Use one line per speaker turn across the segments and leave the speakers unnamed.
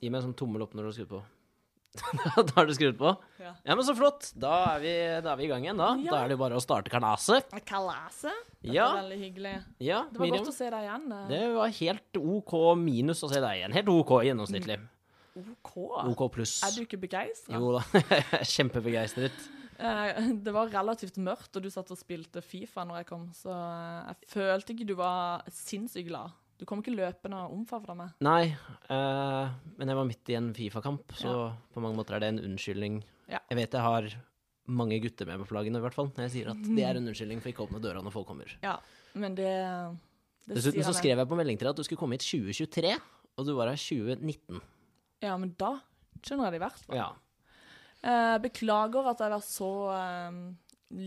Gi meg en sånn tommel opp når du har skrudd på. da har du skrudd på?
Ja.
men så flott. Da er vi, da er vi i gang igjen, da.
Ja.
Da er det jo bare å starte karnaset.
Kalaset. Det
Ja.
var veldig hyggelig.
Ja,
Det var
Miriam.
godt å se deg igjen. eh,
Det var helt OK minus å se deg igjen. Helt OK gjennomsnittlig.
OK.
OK pluss.
Mm. Er du ikke begeistra?
Jo da, jeg er kjempebegeistret.
Eh, det var relativt mørkt, og du satt og spilte Fifa når jeg kom, så eh, jeg følte ikke du var sinnssykt glad. Du kom ikke løpende og omfavna meg.
Nei, eh, men jeg var midt i en Fifa-kamp, så på mange måter er det en unnskyldning.
Ja.
Jeg vet jeg har mange gutter med på flaggene, i hvert fall. Når jeg sier at det er en unnskyldning for ikke å åpne døra når folk kommer.
Ja, men det, det
Dessuten
sier
så
jeg.
skrev jeg på melding til deg at du skulle komme hit 2023, og du var her 2019.
Ja, men da skjønner jeg det i hvert fall.
Ja.
Eh, beklager at jeg var så eh,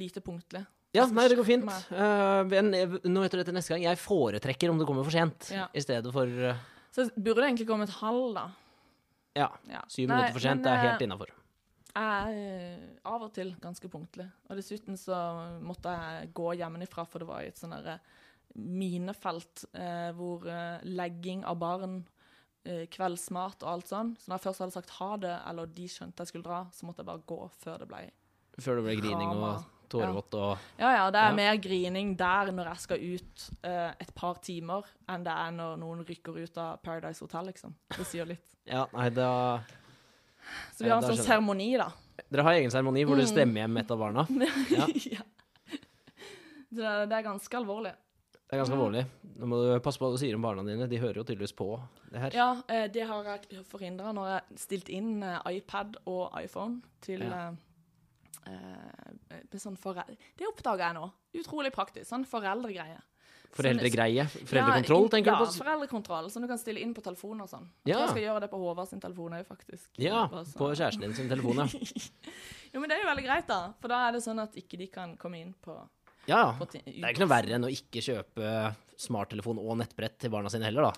lite punktlig.
Ja,
Jeg skal
nei, det går fint.
skjerpe meg.
Eh, men jeg- nå vet du det til neste gang. Jeg foretrekker om det kommer for sent,
Ja.
i stedet for eh,
Så jeg burde egentlig komme et halv, da.
Ja,
Ja.
syv
Nei,
minutter for sent.
men,
det er
eh,
helt innafor.
Jeg er av og til ganske punktlig. Og dessuten så måtte jeg gå hjemmefra, for det var i et sånn derre minefelt eh, hvor eh, legging av barn, eh, kveldsmat og alt sånn. Så når jeg først hadde sagt ha det, eller de skjønte jeg skulle dra, så måtte jeg bare gå før det blei
Før det ble grining og
Drama.
tårevått og
Ja ja, det er
Ja.
mer grining der når jeg skal ut eh, et par timer, enn det er når noen rykker ut av Paradise Hotel, liksom. Det sier litt.
Ja, nei, da
Så vi har
Ja,
en
da skjønner
sånn
jeg.
seremoni, da.
Dere har egen seremoni hvor dere
Mm.
stemmer hjem et av barna. Ja.
ja. Så det, det er ganske alvorlig.
Det
Mm.
er ganske alvorlig. Nå må du passe på hva du sier om barna dine. De hører jo tydeligvis på det her.
Ja, eh, det har jeg forhindra når jeg stilte inn eh, iPad og iPhone til
Ja.
eh, eh, med sånn forel Det oppdaga jeg nå. Utrolig praktisk. Sånn foreldregreie. Sånn
Foreldregreie. Foreldrekontroll,
ja,
tenker
ja,
du på?
foreldrekontroll, som du kan stille inn på telefonen og sånn.
Ja.
Jeg tror jeg skal gjøre det på Håvard sin telefon òg, faktisk.
Ja,
Bare så-
på kjæresten din sin telefon, ja.
Jo, men det er jo veldig greit, da. For da er det sånn at ikke de kan komme inn på,
ja.
på
Det er ikke noe verre enn å ikke kjøpe smarttelefon og nettbrett til barna sine heller, da.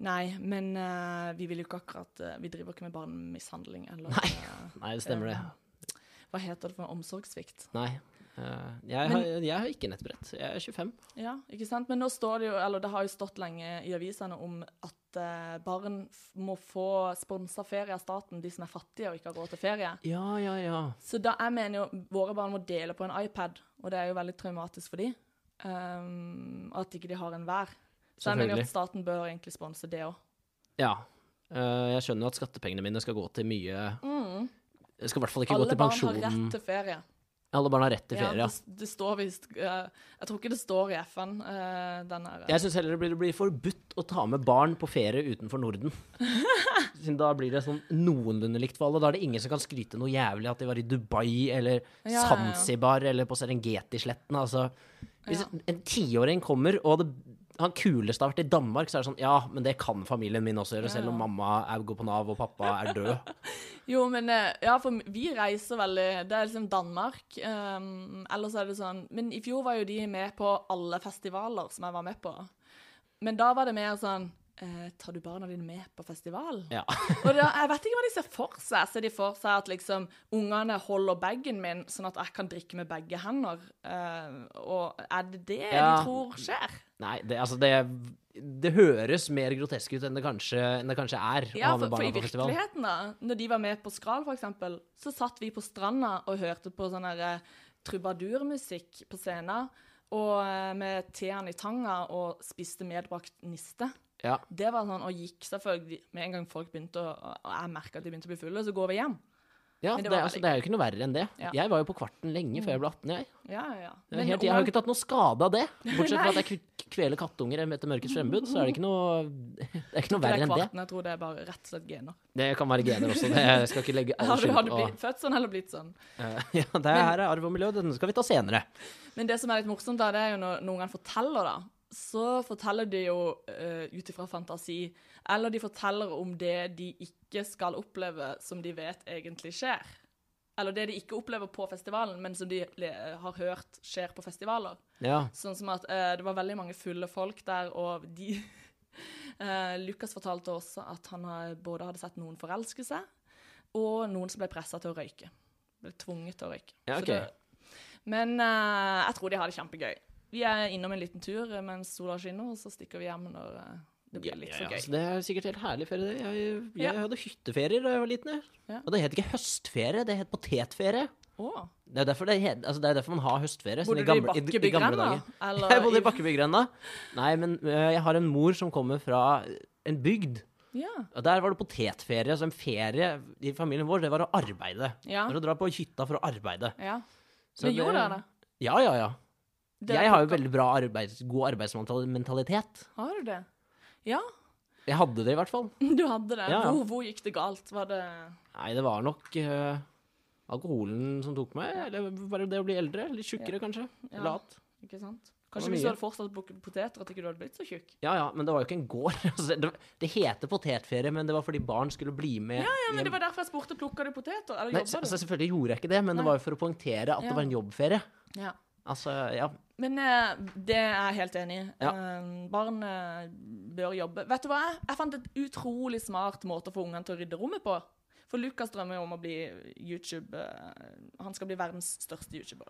Nei, men eh, vi vil jo ikke akkurat eh, Vi driver ikke med barnemishandling eller
Nei.
eh,
Nei, det stemmer det.
Hva heter det for noe? Omsorgssvikt.
Nei. Eh, Jeg har, jeg har ikke nettbrett. Jeg er 25.
Ja, ikke sant? Men nå står det jo, eller det har jo stått lenge i avisene om at eh, barn f må få sponsa ferie av staten, de som er fattige og ikke har råd til ferie.
Ja, ja, ja.
Så da jeg mener jo våre barn må dele på en iPad, og det er jo veldig traumatisk for de. Um, at ikke de har en hver. Så jeg mener jo
Selvfølgelig.
at staten bør egentlig sponse det òg.
Ja. Eh, Jeg skjønner jo at skattepengene mine skal gå til mye Det skal i hvert fall ikke gå
Mm. Alle
til
barn har
pensjonen.
rett til ferie.
Alle barn har rett til
Ja,
ferie.
det,
Ja,
det står visst eh, Jeg tror ikke det står i FN, eh, den her.
Jeg syns heller det blir, det blir forbudt å ta med barn på ferie utenfor Norden. Siden da blir det sånn noenlunde likt for alle. Da er det ingen som kan skryte noe jævlig at de var i Dubai eller
Ja, ja, ja.
Zanzibar eller på Serengeti-sletten. Altså, hvis
Ja.
en tiåring kommer, og det, han kuleste har vært i Danmark, så er det sånn Ja, men det kan familien min også gjøre, selv om mamma er, går på Nav og pappa er død.
Jo, men eh, ja, for vi reiser veldig Det er liksom Danmark. Um, ellers er det sånn Men i fjor var jo de med på alle festivaler som jeg var med på. Men da var det mer sånn eh, Tar du barna dine med på festival?
Ja.
Og da, jeg vet ikke hva de ser for seg. Ser de for seg at liksom ungene holder bagen min, sånn at jeg kan drikke med begge hender? Eh, og er det det
Ja.
de tror skjer?
Nei, det, altså det det høres mer grotesk ut enn det kanskje, enn det kanskje er
Ja,
å ha med
for, for
barna
i
på festival.
virkeligheten, da, når de var med på Skral, for eksempel, så satt vi på stranda og hørte på sånn her eh, trubadurmusikk på scenen, og eh, med teen i tanga og spiste medbrakt niste.
Ja.
Det var sånn, og gikk selvfølgelig Med en gang folk begynte å Og jeg merka at de begynte å bli fulle, så går vi hjem.
Ja, det,
Men det var
er- altså,
veldig
det er jo ikke noe verre enn det.
Ja.
Jeg var jo på kvarten lenge før jeg ble 18, jeg.
Ja, ja.
Det er helt, jeg har jo ikke tatt noe skade av det. Bortsett fra at jeg k- kveler kattunger etter mørkets frembud, så er det ikke noe, det er ikke noe verre enn det.
kvarten, jeg tror det er bare rett og slett gener.
Det kan være gener også, det jeg skal ikke legge all
Har du, har
skyld
du
på.
blitt, født sånn eller blitt sånn?
Eh, Ja, det her er arv og miljø, den skal vi ta senere.
Men det som er litt morsomt, da, det er jo når noen ganger forteller, da. Så forteller de jo uh, ut ifra fantasi. Eller de forteller om det de ikke skal oppleve, som de vet egentlig skjer. Eller det de ikke opplever på festivalen, men som de le har hørt skjer på festivaler.
Ja,
Sånn som at eh, det var veldig mange fulle folk der, og de Eh, Lukas fortalte også at han har- både hadde sett noen forelske seg, og noen som ble pressa til å røyke. Ble tvunget til å røyke.
Ja,
Så
ok.
det- men eh, jeg tror de har det kjempegøy. Vi er innom en liten tur eh, mens sola skinner, og så stikker vi hjem når eh, Det blir litt så
Ja,
gøy.
så det er sikkert helt herlig ferie. det. Jeg, jeg
Ja.
hadde hytteferier da jeg var liten. jeg.
Ja.
Og det het ikke høstferie, det het potetferie.
Å,
Det er derfor, det het, altså det er derfor man har høstferie. sånn
Bodde
i
du i
gamle- i- i
Bakkebygrend,
gamle
da?
dager.
Eller
Jeg bodde i Bakkebygrenda. Nei, men øh, jeg har en mor som kommer fra en bygd.
Ja.
Og der var det potetferie. Så en ferie i familien vår, det var å arbeide.
Ja.
Det var å dra på hytta for å arbeide.
ja.
Så
Men gjorde dere det?
Ja, ja, ja.
Dere
jeg har jo
plukket-
veldig bra arbeids, god arbeidsmentalitet.
Har du det? Ja,
Jeg hadde det i hvert fall.
du hadde det.
Ja, ja.
Hvor, hvor gikk det galt? Var det
Nei, det var nok øh, alkoholen som tok meg. Eller bare det å bli eldre. Litt tjukkere, kanskje.
Ja.
Lat.
Ikke sant?
var
Kanskje hvis du
mye.
hadde fortsatt å plukke poteter, at ikke du hadde blitt så tjukk?
Ja ja, men det var jo ikke en gård. Altså, det, det heter potetferie, men det var fordi barn skulle bli med
Ja,
i
men
en
Det var derfor jeg spurte plukka du poteter. Eller
Nei,
jobba
altså, selvfølgelig gjorde jeg ikke det, men det
Nei.
var jo for å poengtere at
Ja.
det var en jobbferie.
du? Ja.
Altså, ja.
Men eh, det er jeg helt enig i.
Ja.
Eh, barn eh, bør jobbe. Vet du hva? Jeg, jeg fant et utrolig smart måte å få ungene til å rydde rommet på. For Lukas drømmer jo om å bli YouTube eh, Han skal bli verdens største YouTuber.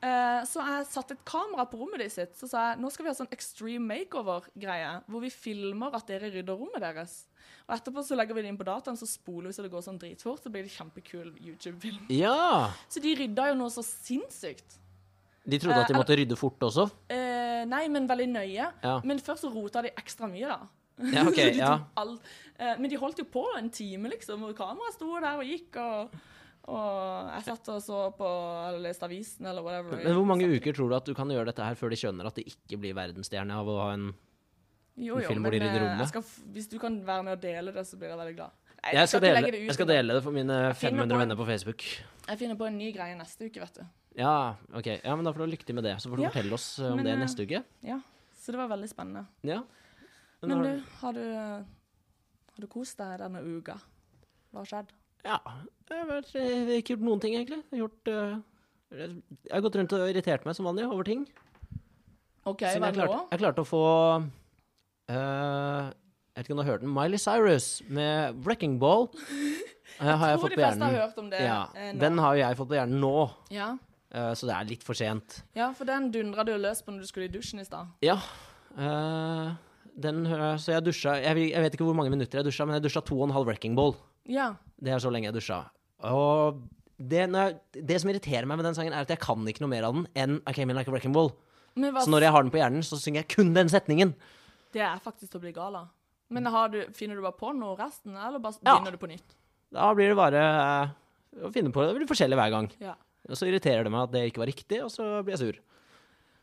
Eh, så jeg satte et kamera på rommet ditt sitt, så sa jeg nå skal vi ha sånn extreme makeover-greie, hvor vi filmer at dere rydder rommet deres. Og etterpå så legger vi det inn på dataen, så spoler vi så det går sånn dritfort, så blir det kjempekul YouTube-film.
ja!
Så de rydda jo noe så sinnssykt.
De trodde
Eh,
at de måtte rydde fort også.
Eh, nei, men veldig nøye.
Ja.
Men først så rota de ekstra mye, da.
Ja, ok,
Så de tok
ja.
alt. Eh, men de holdt jo på en time, liksom. Og kameraet sto der og gikk, og, og jeg satt og så på eller leste avisen eller whatever.
Men hvor mange uker tror du at du kan gjøre dette her før de skjønner at de ikke blir verdensstjerne av å ha en
jo,
en
jo,
film hvor de
men,
rydder
eh,
rommet?
jeg Skal, f- hvis du kan være med og dele det, så blir jeg veldig glad. Nei,
Jeg skal,
ikke
dele,
legge det ut,
jeg skal
men
dele det for mine 500
finner på en-
venner på Facebook.
Jeg finner på en ny greie neste uke, vet du.
Ja, ok. Ja, men da får du ha lykke til med det. Så får du
Ja,
fortelle oss eh, om
men,
det
eh,
neste uke.
Ja, Så det var veldig spennende.
Ja. Men
Men
har-
du, har du, eh, har du kost deg denne uka? Hva har skjedd?
Ja. Jeg har vært- jeg har ikke gjort noen ting, egentlig. Jeg har, gjort, eh, jeg har gått rundt og irritert meg som vanlig over ting.
OK,
Siden
hva
jeg,
nå?
klarte, jeg klarte å få eh, Jeg vet ikke om du har hørt den? Miley Cyrus med 'Wrecking Ball'. eh, har jeg
tror
fått
de
på
fleste har
hjernen.
hørt om det
Ja,
eh, nå.
den har jo jeg fått på hjernen nå,
Ja.
eh, så det er litt for sent.
ja, for den dundra du løs på når du skulle i dusjen i stad.
Ja. eh, den, eh, så jeg dusja jeg, vil- jeg vet ikke hvor mange minutter jeg dusja, men jeg dusja to og en halv 'Wrecking Ball'.
Ja.
Det er så lenge jeg dusja. Og det, når jeg, det som irriterer meg med den sangen, er at jeg kan ikke noe mer av den enn I came in like a wrecking ball.
Men hva,
Så når jeg har den på hjernen, så synger jeg kun den setningen.
Det er faktisk til å bli gal av. Men har du, finner du bare på noe resten, eller bare
Ja.
begynner du på nytt?
Da blir det bare eh, å finne på det. Det blir forskjellig hver gang.
Ja.
Og så irriterer det meg at det ikke var riktig, og så blir jeg sur.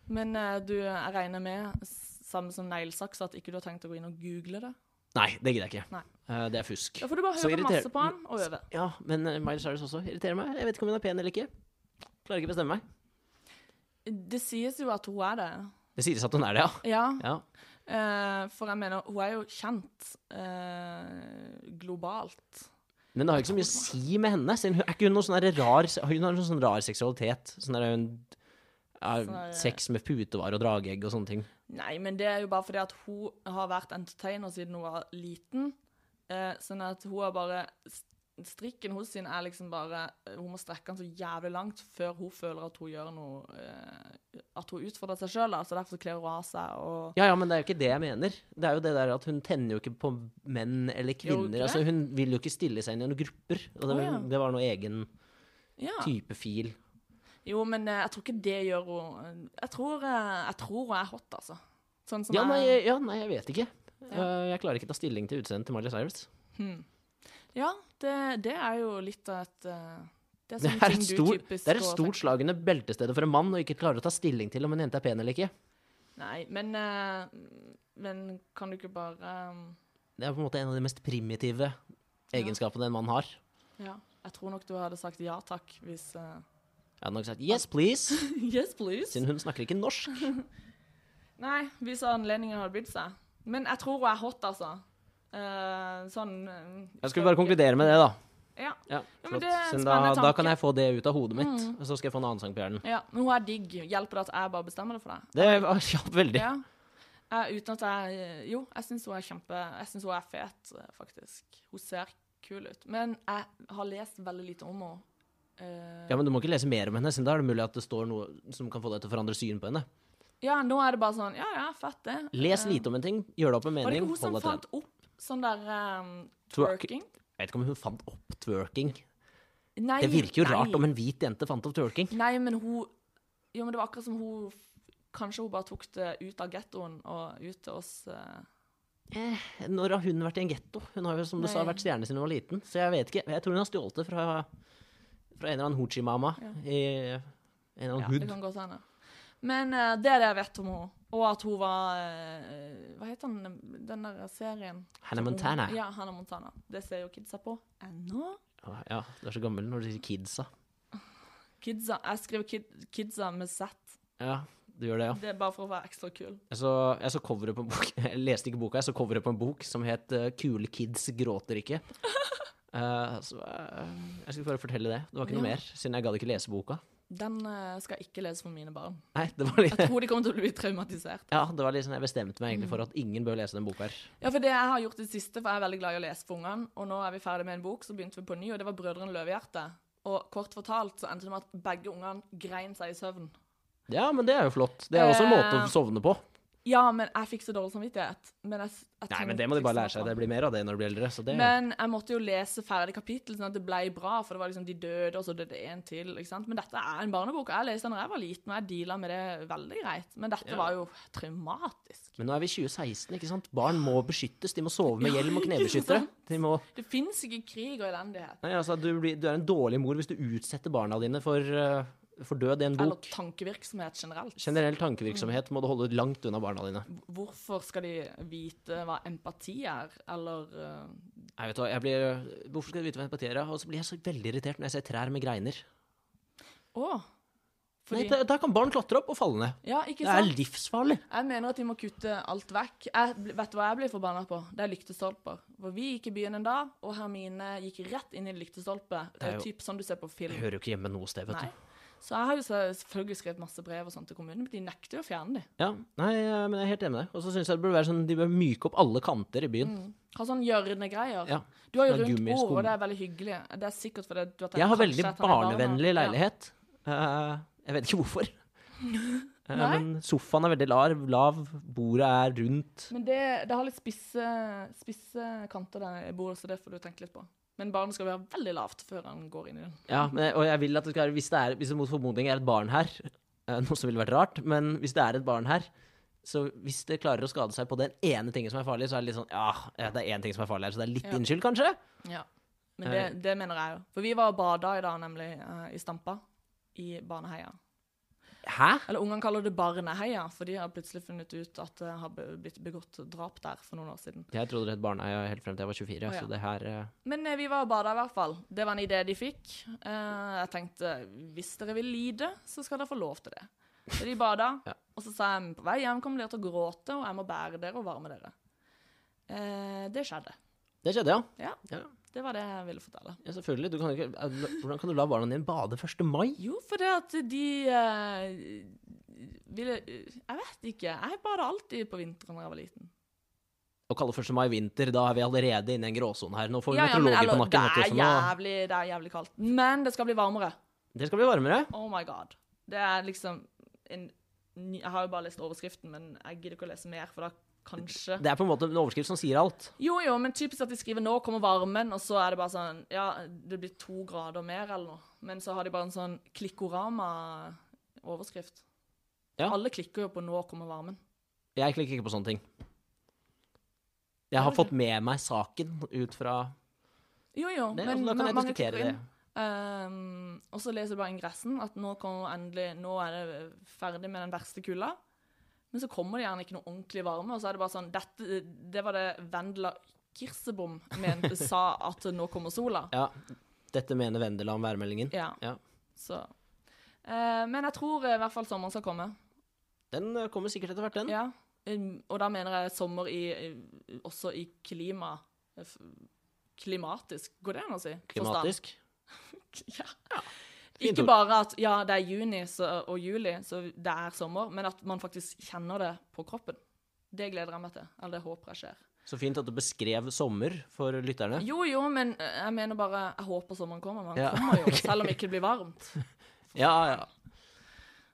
Men eh, du, jeg regner med, s- samme som neglesaks, at ikke du har tenkt å gå inn og google det?
Nei, det gidder jeg ikke.
Nei.
Eh, det er fusk.
Da får du bare
Så
høre
irriter-
masse på han og øve.
Ja, men eh, Miley Cyrus også irriterer meg. Jeg vet ikke om hun er pen eller ikke. Klarer ikke å bestemme meg.
Det sies jo at hun er det.
Det sies at hun er det, ja.
Ja,
ja.
eh, for jeg mener, hun er jo kjent eh, globalt.
Men det har jo ikke så mye å si med henne. Siden hun, er ikke hun noe sånn der rar Hun har noe sånn rar seksualitet. Sånn der hun ja,
Sånn der-
Sex med putevarer og drageegg og sånne ting.
Nei, men det er jo bare fordi at hun har vært entertainer siden hun var liten. Eh, sånn at hun har bare Strikken hos sin er liksom bare Hun må strekke den så jævlig langt før hun føler at hun gjør noe eh, At hun utfordrer seg sjøl, da. Så derfor så kler hun av seg og
Ja, ja, men det er jo ikke det jeg mener. Det er jo det der at hun tenner jo ikke på menn eller
Gjør hun
kvinner.
ikke
altså, hun vil jo ikke stille seg inn i noen grupper. Og det,
Å,
var-
ja. Ah.
det var noe egen
Ja.
type fil.
Jo, men eh, jeg tror ikke det gjør hun Jeg tror, eh, jeg tror hun er hot, altså. Sånn som
Ja nei,
jeg
ja, nei, jeg vet ikke. Eh, Jeg klarer ikke ta stilling til utseendet til Miley Cyrus.
Ja, det, det er jo litt av et eh, Det er
Det
sånne
er
ting
et,
du
stor,
typisk
det er et
går og
stort
tenker.
slag under beltestedet for en mann å ikke klare å ta stilling til om en jente er pen eller ikke.
Nei, men, eh, men kan du ikke bare eh,
Det er på en måte en av de mest primitive egenskapene en mann har.
Ja, jeg tror nok du hadde sagt ja takk hvis eh,
Jeg hadde nok sagt yes, please,
Yes, please.
siden hun snakker ikke norsk.
Nei, hvis anledningen hadde bydd seg. Men jeg tror hun er hot, altså. Eh, sånn eh,
Jeg skulle bare konkludere med det, da.
Ja.
Ja,
Ja, men
flott.
det er en
Siden da,
spennende
da
tanke. Mm.
kan jeg få det ut av hodet mitt, og så skal jeg få en annen sang på hjernen.
ja. Men hun er digg. Hjelper det at jeg bare bestemmer det for deg?
Det var- hjalp veldig.
Ja. Eh, uten at jeg eh, Jo, jeg syns hun er kjempe Jeg syns hun er fet, eh, faktisk. Hun ser kul ut. Men jeg har lest veldig lite om henne. Eh,
Ja, men du må ikke lese mer om henne, siden da er det mulig at det står noe som kan få deg til å forandre syn på henne.
Ja, nå er det bare sånn Ja, ja, fett, det.
Les
Eh,
lite om en ting, gjør deg opp en
Var det
mening,
ikke hun som
hold deg til den.
fant opp sånn der um,
Twerk-
twerking?
Jeg vet ikke om hun fant opp twerking.
Nei,
Det virker jo
nei.
rart om en hvit jente fant opp twerking.
Nei, men hun Jo, men det var akkurat som hun Kanskje hun bare tok det ut av gettoen og ut til oss. eh.
Eh, Når har hun vært i en getto? Hun har jo som du sa
Nei.
vært stjerne siden hun var liten. Så jeg vet ikke. Jeg tror hun har stjålet det fra, fra en eller annen Hoochie-mama
Ja.
i en eller annen
Ja, det
hood.
kan godt hende. Men eh, det er det jeg vet om henne. Og at hun var eh, Hva heter den, den der serien?
Hannah Montana.
Ja, Hannah Montana. Det ser jo kidsa på ennå.
Å, Ja, du er så gammel når du sier kidsa.
Kidsa, Jeg skriver kid, kidsa med Z.
Ja, du gjør det, ja.
Det er bare for å være ekstra kul.
Jeg så, jeg så coveret på en bok Jeg leste ikke boka, jeg så coveret på en bok som het eh, 'Kule kids gråter ikke'. Eh, så eh, jeg skulle bare fortelle det. Det var ikke noe
Ja.
mer, siden jeg gadd ikke lese boka.
Den eh, skal jeg ikke lese for mine barn.
Nei, det var litt
Jeg tror de kommer til å bli traumatisert.
Ja, det var litt sånn jeg bestemte meg egentlig for at ingen bør lese den boka her.
Ja, for det jeg har gjort det siste, for jeg er veldig glad i å lese for ungene, og nå er vi ferdig med en bok, så begynte vi på ny, og det var Brødrene Løvehjerte. Og kort fortalt så endte det med at begge ungene grein seg i søvn.
Ja, men det er jo flott. Det er jo også en måte
Eh,
å sovne på.
Ja, men jeg fikk så dårlig samvittighet. Men jeg, s-
Nei,
jeg tvang-
men det må de
fikk
bare lære seg.
samvittighet.
Det blir mer av det når de blir eldre. Så det
Men jeg måtte jo lese ferdig kapittel, sånn at det ble bra, for det var liksom de døde, og så døde en til, ikke sant? Men dette er en barnebok, og jeg leste den da jeg var liten, og jeg dealet med det veldig greit. Men dette
Ja.
var jo traumatisk.
Men nå er vi i 2016, ikke sant? Barn må beskyttes. De må sove med hjelm og
ikke
knebeskyttere.
sant?
De må
Det finnes ikke krig og elendighet,
Nei, altså, du, blir, du er en dårlig mor hvis du utsetter barna dine for, eh, for død i en
eller
bok.
tankevirksomhet generelt.
Generell tankevirksomhet må du holde langt unna barna dine.
Hvorfor skal de vite hva empati er, eller eh,
Nei, vet du hva, jeg blir, eh, Hvorfor skal du vite hva empati er? Og så blir jeg så veldig irritert når jeg ser trær med greiner.
Å! Fordi
Nei, da, da kan barn klatre opp og falle ned.
Ja, ikke
Det er
sant?
livsfarlig.
Jeg mener at de må kutte alt vekk. Jeg, bl- vet du hva jeg blir forbanna på? Det er lyktestolper. For vi gikk i byen en dag, og Hermine gikk rett inn i en lyktestolpe.
Det er
eh,
jo-
Typ sånn du ser på
Det
film.
hører jo ikke hjemme noe sted, vet
Nei.
du.
Så jeg har jo så- selvfølgelig skrevet masse brev og sånt til kommunen, men de nekter jo å fjerne dem.
Ja, nei, eh, men jeg er helt enig med deg. Og så syns jeg det burde være sånn, de bør myke opp alle kanter i byen.
Har sånn gjørnegreier.
Ja.
Du har jo
Sånn
rundt
gummiskum.
bord, og det er veldig hyggelig. Det er sikkert fordi du har tenkt
Jeg har
kanskje
veldig
at han er barn,
barnevennlig
da.
leilighet. Eh, jeg vet ikke hvorfor. Eh,
Nei.
men sofaen er veldig lav, lav, bordet er rundt.
Ja. Men det, det har litt spisse, spisse kanter der i bordet, så det får du tenke litt på. Men barnet skal være veldig lavt før han går inn i den.
Ja, men, jeg- og jeg vil at det skal være, hvis det, er, hvis det mot formodning er et barn her, eh, noe som ville vært rart, men hvis det er et barn her, så hvis det klarer å skade seg på den ene tingen som er farlig, så er det litt sånn, ja, ja, det er én ting som er farlig her, så det er litt
Ja.
innskyld, kanskje?
Ja, men det, det mener jeg jo. For vi var og bada i dag, nemlig, eh, i Stampa. I Baneheia.
Hæ?
Eller ungene kaller det Barneheia, for de har plutselig funnet ut at det har be- blitt begått drap der for noen år siden.
Jeg trodde det het barneheia helt frem til jeg var 24,
Å, ja.
så det her eh,
Men eh, vi var og bada i hvert fall. Det var en idé de fikk. Eh, jeg tenkte hvis dere vil lide, så skal dere få lov til det. Så de bada,
Ja.
og så sa jeg på vei hjem kommer dere til å gråte, og jeg må bære dere og varme dere. Eh, det skjedde.
Det skjedde, ja.
Ja,
ja.
det var det jeg ville fortelle.
Ja, selvfølgelig. Du kan ikke, eh, hvordan kan du la barna dine bade 1. mai?
Jo, for det at de eh, ville Jeg vet ikke. Jeg bada alltid på vinteren da jeg var liten.
Å kalle 1. mai vinter, da er vi allerede inne i en gråsone her. Nå får vi
Ja, ja, men
meteorologer på
eller, det,
nakken. vet du,
er
så nå-
jævlig, det er jævlig kaldt. Men det skal bli varmere.
Det skal bli varmere.
Oh my god. Det er liksom en ny, Jeg har jo bare lest overskriften, men jeg gidder ikke å lese mer, for da kanskje
Det er på en måte en overskrift som sier alt.
Jo, jo, men typisk at de skriver 'nå kommer varmen', og så er det bare sånn Ja, det blir to grader mer eller noe. Men så har de bare en sånn klikkorama-overskrift.
Ja.
Alle klikker jo på 'nå kommer varmen'.
Jeg klikker ikke på sånne ting. Jeg har
Gjør du
fått med meg saken ut fra
Jo, jo,
det, altså, Da kan
ma-
jeg
mange
diskutere
klikker
det.
inn. Ehm, og så leser jeg bare ingressen at nå, kommer endelig, nå er det ferdig med den verste kulda. Men så kommer det gjerne ikke noe ordentlig varme, og så er det bare sånn dette, Det var det Vendela Kirsebom mente, sa at nå kommer sola.
Ja, dette mener Vendela om værmeldingen.
Ja.
Ja.
Så. Eh, men jeg tror eh, i hvert fall sommeren skal komme.
Den ø, kommer sikkert etter hvert, den.
Ja. Um, og da mener jeg sommer i, i- også i klima... f- Klimatisk, går det an å si? Forstand.
Klimatisk.
Ja.
Fint
Ikke
ord.
bare at ja, det er juni så, og juli, så det er sommer, men at man faktisk kjenner det på kroppen. Det gleder jeg meg til. Eller det håper jeg skjer.
Så fint at du beskrev sommer for lytterne.
Jo, jo, men eh, jeg mener bare Jeg håper sommeren kommer. men Den
Ja,
kommer jo, selv om ikke det blir varmt.
Ja, ja.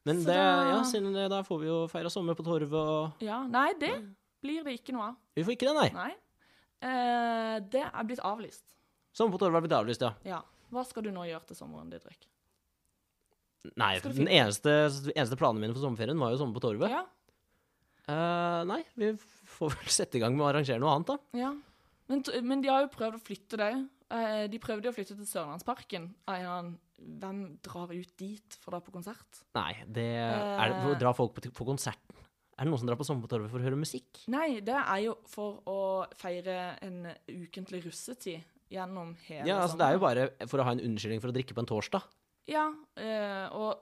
Men
Så
det,
da-
ja, siden det, da får vi jo feira sommer på torvet og
Ja, nei, det blir det ikke noe av.
Vi får ikke det, nei.
Nei. Eh, det er blitt avlyst.
Sommer på torvet har blitt avlyst, ja.
Ja. Hva skal du nå gjøre til sommeren, Didrik?
Nei,
Skal du
den eneste, eneste planen min for sommerferien var jo sommer på torvet.
Ja,
Eh, nei, vi får vel sette i gang med å arrangere noe annet, da.
ja. Men, t- men de har jo prøvd å flytte deg. Eh, de prøvde jo å flytte til Sørlandsparken. av en eller annen- Hvem drar ut dit for å dra på konsert?
Nei, det er det,
Eh.
Dra folk på, på konserten. Er det noen som drar på Sommer på torvet for å høre musikk?
Nei, det er jo for å feire en ukentlig russetid gjennom hele
Ja, altså Det er jo bare for å ha en unnskyldning for å drikke på en torsdag.
Ja, eh, og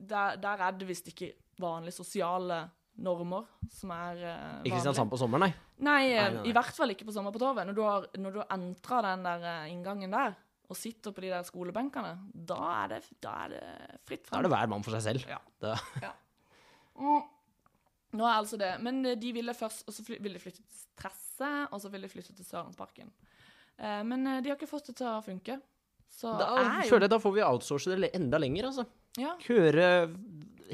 der, der er det visst ikke vanlige sosiale normer som er eh, vanlige.
Ikke Kristiansand på sommeren, nei.
Nei,
Nei,
eh,
nei, nei.
i hvert fall ikke på Sommer på torvet. Når du har, når du har entra den der eh, inngangen der, og sitter på de der skolebenkene, da er det, da er det fritt
Da
frem.
er det hver mann for seg selv.
Ja.
Da-
Mm. Nå er altså det. Men eh, de ville først Og så fly, ville de flytte til Tresse, og så ville de flytte til Sørlandsparken. Eh, men eh, de har ikke fått det til å funke. Så
Da
er jo
føler jeg da får vi outsource det le- enda lenger, altså.
ja,
Køre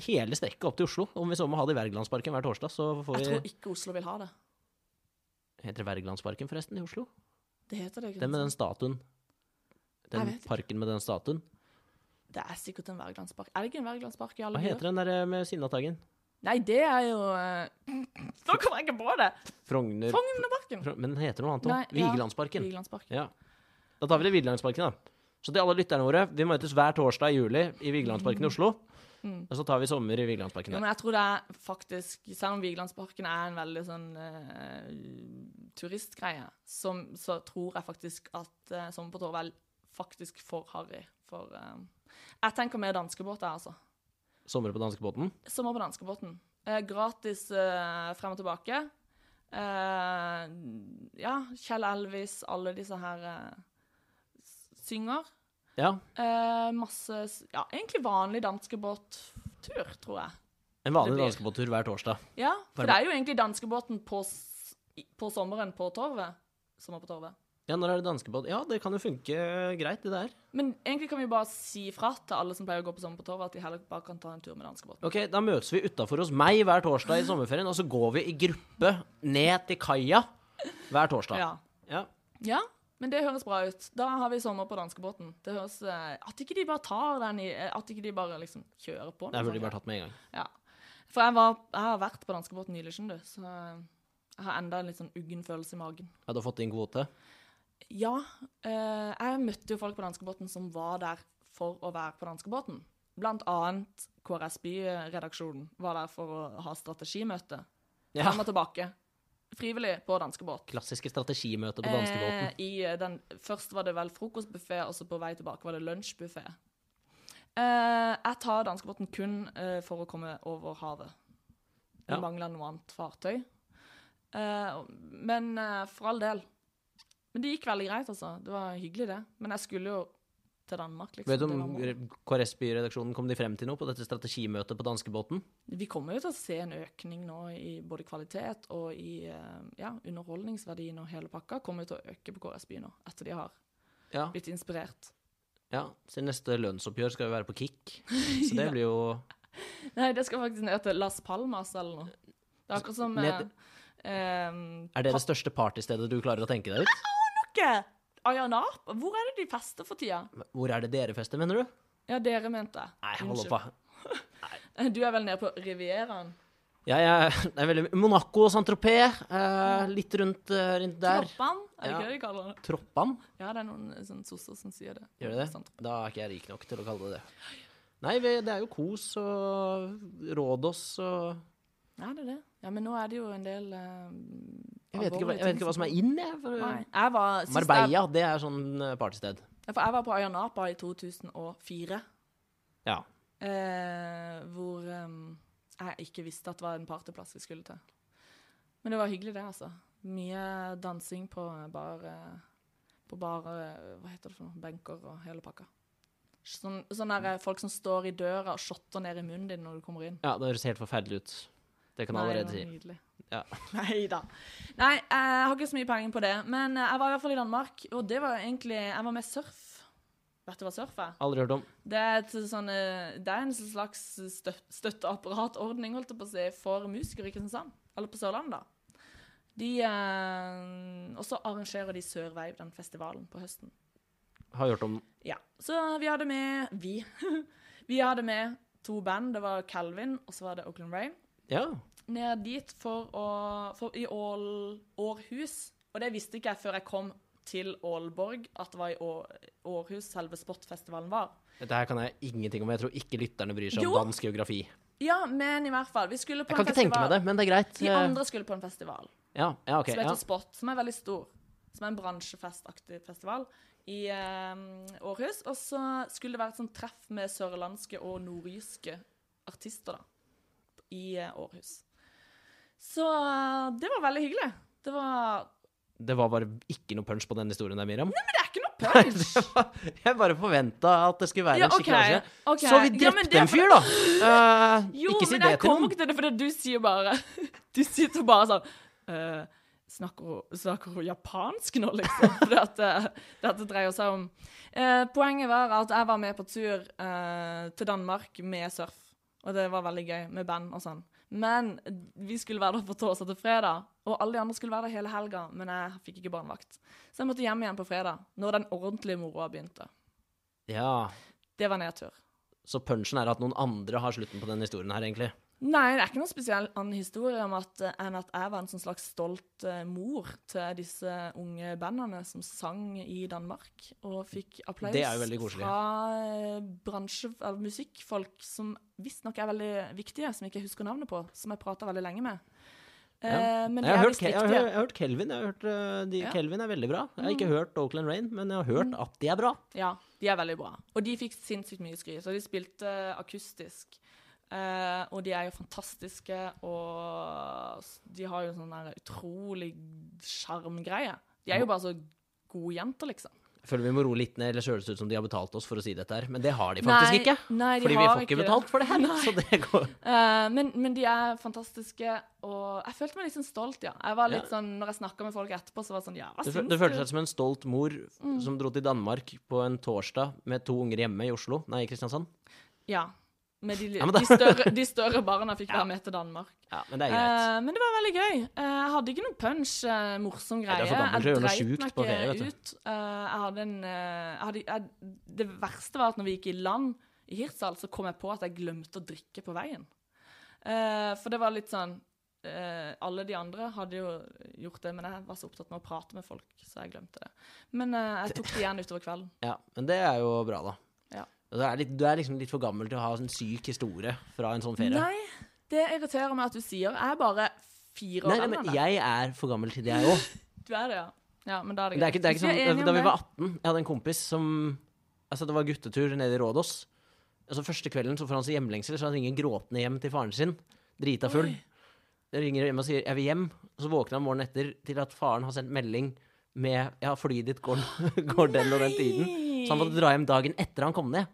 hele strekket opp til Oslo. Om vi så må ha det i Wergelandsparken hver torsdag, så får vi
Jeg tror ikke Oslo vil ha det.
Heter det Wergelandsparken, forresten, i Oslo?
Det heter det ikke.
Den med den
sant?
statuen.
Jeg
Den
vet ikke.
parken med den statuen.
Det er sikkert en Wergelandspark. Er det ikke en Wergelandspark i
Hva
alle byer?
heter den der eh, med Sinnataggen?
Nei, det er jo uh... Da kommer jeg ikke på det!
Frogner
Frognerparken.
Frog- Men den heter noe annet
Nei,
òg.
ja.
Vigelandsparken.
Vigelandsparken.
Ja. Da tar vi det i Vigelandsparken, da. Så til alle lytterne våre, vi møtes hver torsdag i juli i Vigelandsparken i Oslo.
Mm.
Og så tar vi sommer i Vigelandsparken
Ja,
der.
men jeg tror det er faktisk Selv om Vigelandsparken er en veldig sånn eh, turistgreie, som, så tror jeg faktisk at eh, Sommer på Torvell faktisk for harry. For eh, jeg tenker mer danskebåt, jeg, altså.
Sommer på danskebåten.
Sommer på danskebåten. Eh, gratis eh, frem og tilbake. Eh, ja, Kjell Elvis, alle disse her eh, s- synger.
Ja.
Eh, masse s- Ja, egentlig vanlig danskebåttur, tror jeg.
En vanlig
Det blir-
danskebåttur hver torsdag.
Ja, for
Bare-
det er jo egentlig danskebåten på, s- i- på sommeren på torvet. Sommer på torvet.
Ja, når er det danskebåt? Ja, det kan jo funke greit, det der.
Men egentlig kan vi bare si fra til alle som pleier å gå på Sommer på torvet, at de heller bare kan ta en tur med danskebåten.
Ok, da møtes vi utafor hos meg hver torsdag i sommerferien, og så går vi i gruppe ned til kaia hver torsdag.
Ja.
Ja.
ja, men det høres bra ut. Da har vi sommer på danskebåten. Det høres eh, At ikke de bare tar den i eh, At ikke de bare liksom kjører på.
Det burde de bare tatt med en gang.
Ja. For jeg, var, jeg har vært på danskebåten nylig, skjønner du, så eh, jeg har enda en litt sånn uggen følelse i magen.
Ja, du har fått din kvote?
Ja. eh, jeg møtte jo folk på danskebåten som var der for å være på danskebåten. Blant annet KrS By-redaksjonen var der for å ha strategimøte.
Ja.
Frem og tilbake. Frivillig på danskebåt.
Klassiske strategimøter på danskebåten.
Eh, i eh, den, først var det vel frokostbuffé, og så på vei tilbake var det lunsjbuffé. Eh, jeg tar danskebåten kun eh, for å komme over havet. Vi
Ja.
mangler noe annet fartøy. Eh, og- men eh, for all del. Men det gikk veldig greit, altså. Det var hyggelig, det. Men jeg skulle jo til Danmark, liksom.
Vet du
Det var
om
målet.
KrS-byredaksjonen kom de frem til noe på dette strategimøtet på danskebåten?
Vi kommer jo til å se en økning nå i både kvalitet og i eh, ja, underholdningsverdien og hele pakka. Kommer jo til å øke på KrS By nå, etter de har
Ja.
blitt inspirert.
ja. Så neste lønnsoppgjør skal jo være på Kick. Så det
Ja.
blir jo
Nei, det skal faktisk ned til Las Palmas eller noe. Det er akkurat som eh,
Ned-
ehm,
Er det det største partystedet du klarer å tenke deg ut?
Pakke! Ayanapa? Hvor er det de fester for tida?
Hvor er det dere fester, mener du?
Ja, dere mente jeg.
Nei, hold
Unnskyld.
opp, da.
Du er vel nede på Rivieraen?
Jeg er, det er veldig Monaco og Saint-Tropez. Eh, litt rundt, eh, rundt der.
Troppan? Er det
Ja.
ikke det de kaller det?
Troppan,
Ja, det er noen eh, sånn sosser som sier det. Sånn.
gjør det det?
Sant.
Da er ikke jeg rik nok til å kalle det det. Nei, vi, det er jo Kos og Rådås og
Ja, det er det. Ja, men nå er det jo en del eh,
jeg vet, ikke, hva- jeg
alvorlige
vet
ting
ikke hva som er inn, jeg.
Nei,
For,
jeg var, sist Jeg,
Marbella, det er sånn eh, partysted.
Ja, for jeg var på Ayanapa i 2004.
Ja.
Eh, hvor ehm, jeg ikke visste at det var en partyplass vi skulle til. Men det var hyggelig, det, altså. Mye dansing på bar eh, På bar eh, Hva heter det for noe? Benker og hele pakka. Sånn, sånn der, eh, folk som står i døra og shotter ned i munnen din når du kommer inn.
Ja, det høres helt forferdelig ut. Det kan jeg allerede
det
si.
var nydelig.
Ja.
Nei da. Nei, jeg har ikke så mye peiling på det. Men eh, jeg var i hvert fall i Danmark, og det var egentlig Jeg var med surf. Vet du hva surf er?
Aldri hørt om.
Det er, et sånn, eh, det er en slags støt, støtteapparatordning holdt jeg på å si, for musikere i Kristiansand. Eller på Sørlandet, da. De, eh, og så arrangerer de Sørveiv, den festivalen, på høsten.
Har hørt om
Ja. Så vi hadde med Vi. vi hadde med to band. Det var Calvin, og så var det Oakland Rain.
Ja.
Ned dit for å for, I Ål, Århus. Og det visste ikke jeg før jeg kom til Ålborg, at det var i Å- Århus selve sportfestivalen var.
Dette her kan jeg ingenting om. Jeg tror ikke lytterne bryr seg om
Jo.
dansk geografi.
Ja, men i hvert fall. Vi skulle på
Jeg kan
en
ikke tenke meg det, men det er greit.
De andre skulle på en festival
Ja, ja ok.
som heter
Ja.
Spot, som er veldig stor. Som er en bransjefestaktig festival i eh, Århus. Og så skulle det være et sånt treff med sørlandske og nordjyske artister da, i eh, Århus. Så eh, det var veldig hyggelig. Det var
Det var bare ikke noe punch på den historien der, Miriam.
Men det er ikke noe punch!
Det var- Jeg bare forventa at det skulle være
Ja,
en skikkelig
ok,
avskjed.
ok.
Så vi
Ja, men
drepte
det er
en
for-
fyr, da! Eh,
Jo,
ikke si
men
det
jeg
til
kommer
noen.
ikke til det, for du sier bare Du sitter bare sånn «Øh, snakker, hun, snakker hun japansk nå, liksom? For at, eh, dette dreier seg om Eh, Poenget var at jeg var med på tur eh, til Danmark med surf. Og det var veldig gøy, med band og sånn. Men vi skulle være der på torsdag til fredag, og alle de andre skulle være der hele helga, men jeg fikk ikke barnevakt. Så jeg måtte hjem igjen på fredag, når den ordentlige moroa begynte.
Ja.
Det var nedtur.
Så punchen er at noen andre har slutten på den historien her, egentlig.
Nei, det er ikke noen spesiell annen historie om at, eh, enn at jeg var en sånn slags stolt eh, mor til disse unge bandene som sang i Danmark, og fikk applaus
Det er jo veldig koselig.
fra eh, bransje, eller musikkfolk som visstnok er veldig viktige, som jeg ikke husker navnet på, som jeg prata veldig lenge med. Eh,
Ja. Jeg
Men de
har,
er
hørt,
visst
Ke- jeg, har, hørt-
viktige.
jeg har hørt Kelvin. Jeg har hørt, eh, de,
Ja. Mm.
Kelvin er veldig bra. Jeg har ikke hørt Oakland Rain, men jeg har hørt at de er bra.
Ja, de er veldig bra. Og de fikk sinnssykt mye skryt, og de spilte akustisk. Eh, og de er jo fantastiske, og s- de har jo sånn der utrolig sjarmgreie. De er jo bare så gode jenter, liksom.
Jeg føler vi må roe litt ned, ellers høres det ut som de har betalt oss for å si dette her. Men det har de faktisk
Nei,
ikke.
nei, de
Fordi vi
har
får ikke
ikke det.
betalt for det her. Så det går
Eh, men, men de er fantastiske, og jeg følte meg litt sånn stolt, ja. Jeg var litt
Ja.
sånn, Når jeg snakka med folk etterpå, så var det sånn Ja, hva
Det,
syns Mm.
fø- det føltes som en stolt mor som dro til Danmark på en torsdag med to unger hjemme i Oslo. Nei, i Kristiansand.
Ja. Men de,
Ja, men
de,
da-
større, de større barna fikk være med til Danmark.
Ja, men det er greit.
Eh, men det var veldig gøy. Eh, jeg hadde ikke noen punch, eh, morsom
Nei,
greie.
det er for gammelt til å gjøre noe
Jeg dreit
sjukt på ferie, vet du.
ut. Eh, jeg hadde en, eh, jeg hadde, jeg, det verste var at når vi gikk i land i Hirtshals, så kom jeg på at jeg glemte å drikke på veien. Eh, for det var litt sånn eh, Alle de andre hadde jo gjort det, men jeg var så opptatt med å prate med folk, så jeg glemte det. Men eh, jeg tok det igjen utover kvelden.
Ja, men det er jo bra, da.
Ja.
Du er, litt, du er liksom litt for gammel til å ha en syk historie fra en sånn ferie.
Nei, det irriterer meg at du sier. Jeg er bare fire år
Nei, nei,
eldre
men
enn deg.
jeg er for gammel til det, jeg òg.
Du er det, ja. Ja, men da er det
Det er
greit.
ikke, det er ikke
Hvis vi er
sånn,
enige
da
om
vi
det-
var 18, jeg hadde en kompis som Altså, det var guttetur nede i Rådås. Altså, første kvelden så får han seg hjemlengsel, så han ringer gråtende hjem til faren sin. Drita full. Jeg ringer hjem og sier 'jeg vil hjem', og så våkner han morgenen etter til at faren har sendt melding med 'ja, flyet ditt går, går den og den tiden'. Så han måtte dra hjem dagen etter han kom ned.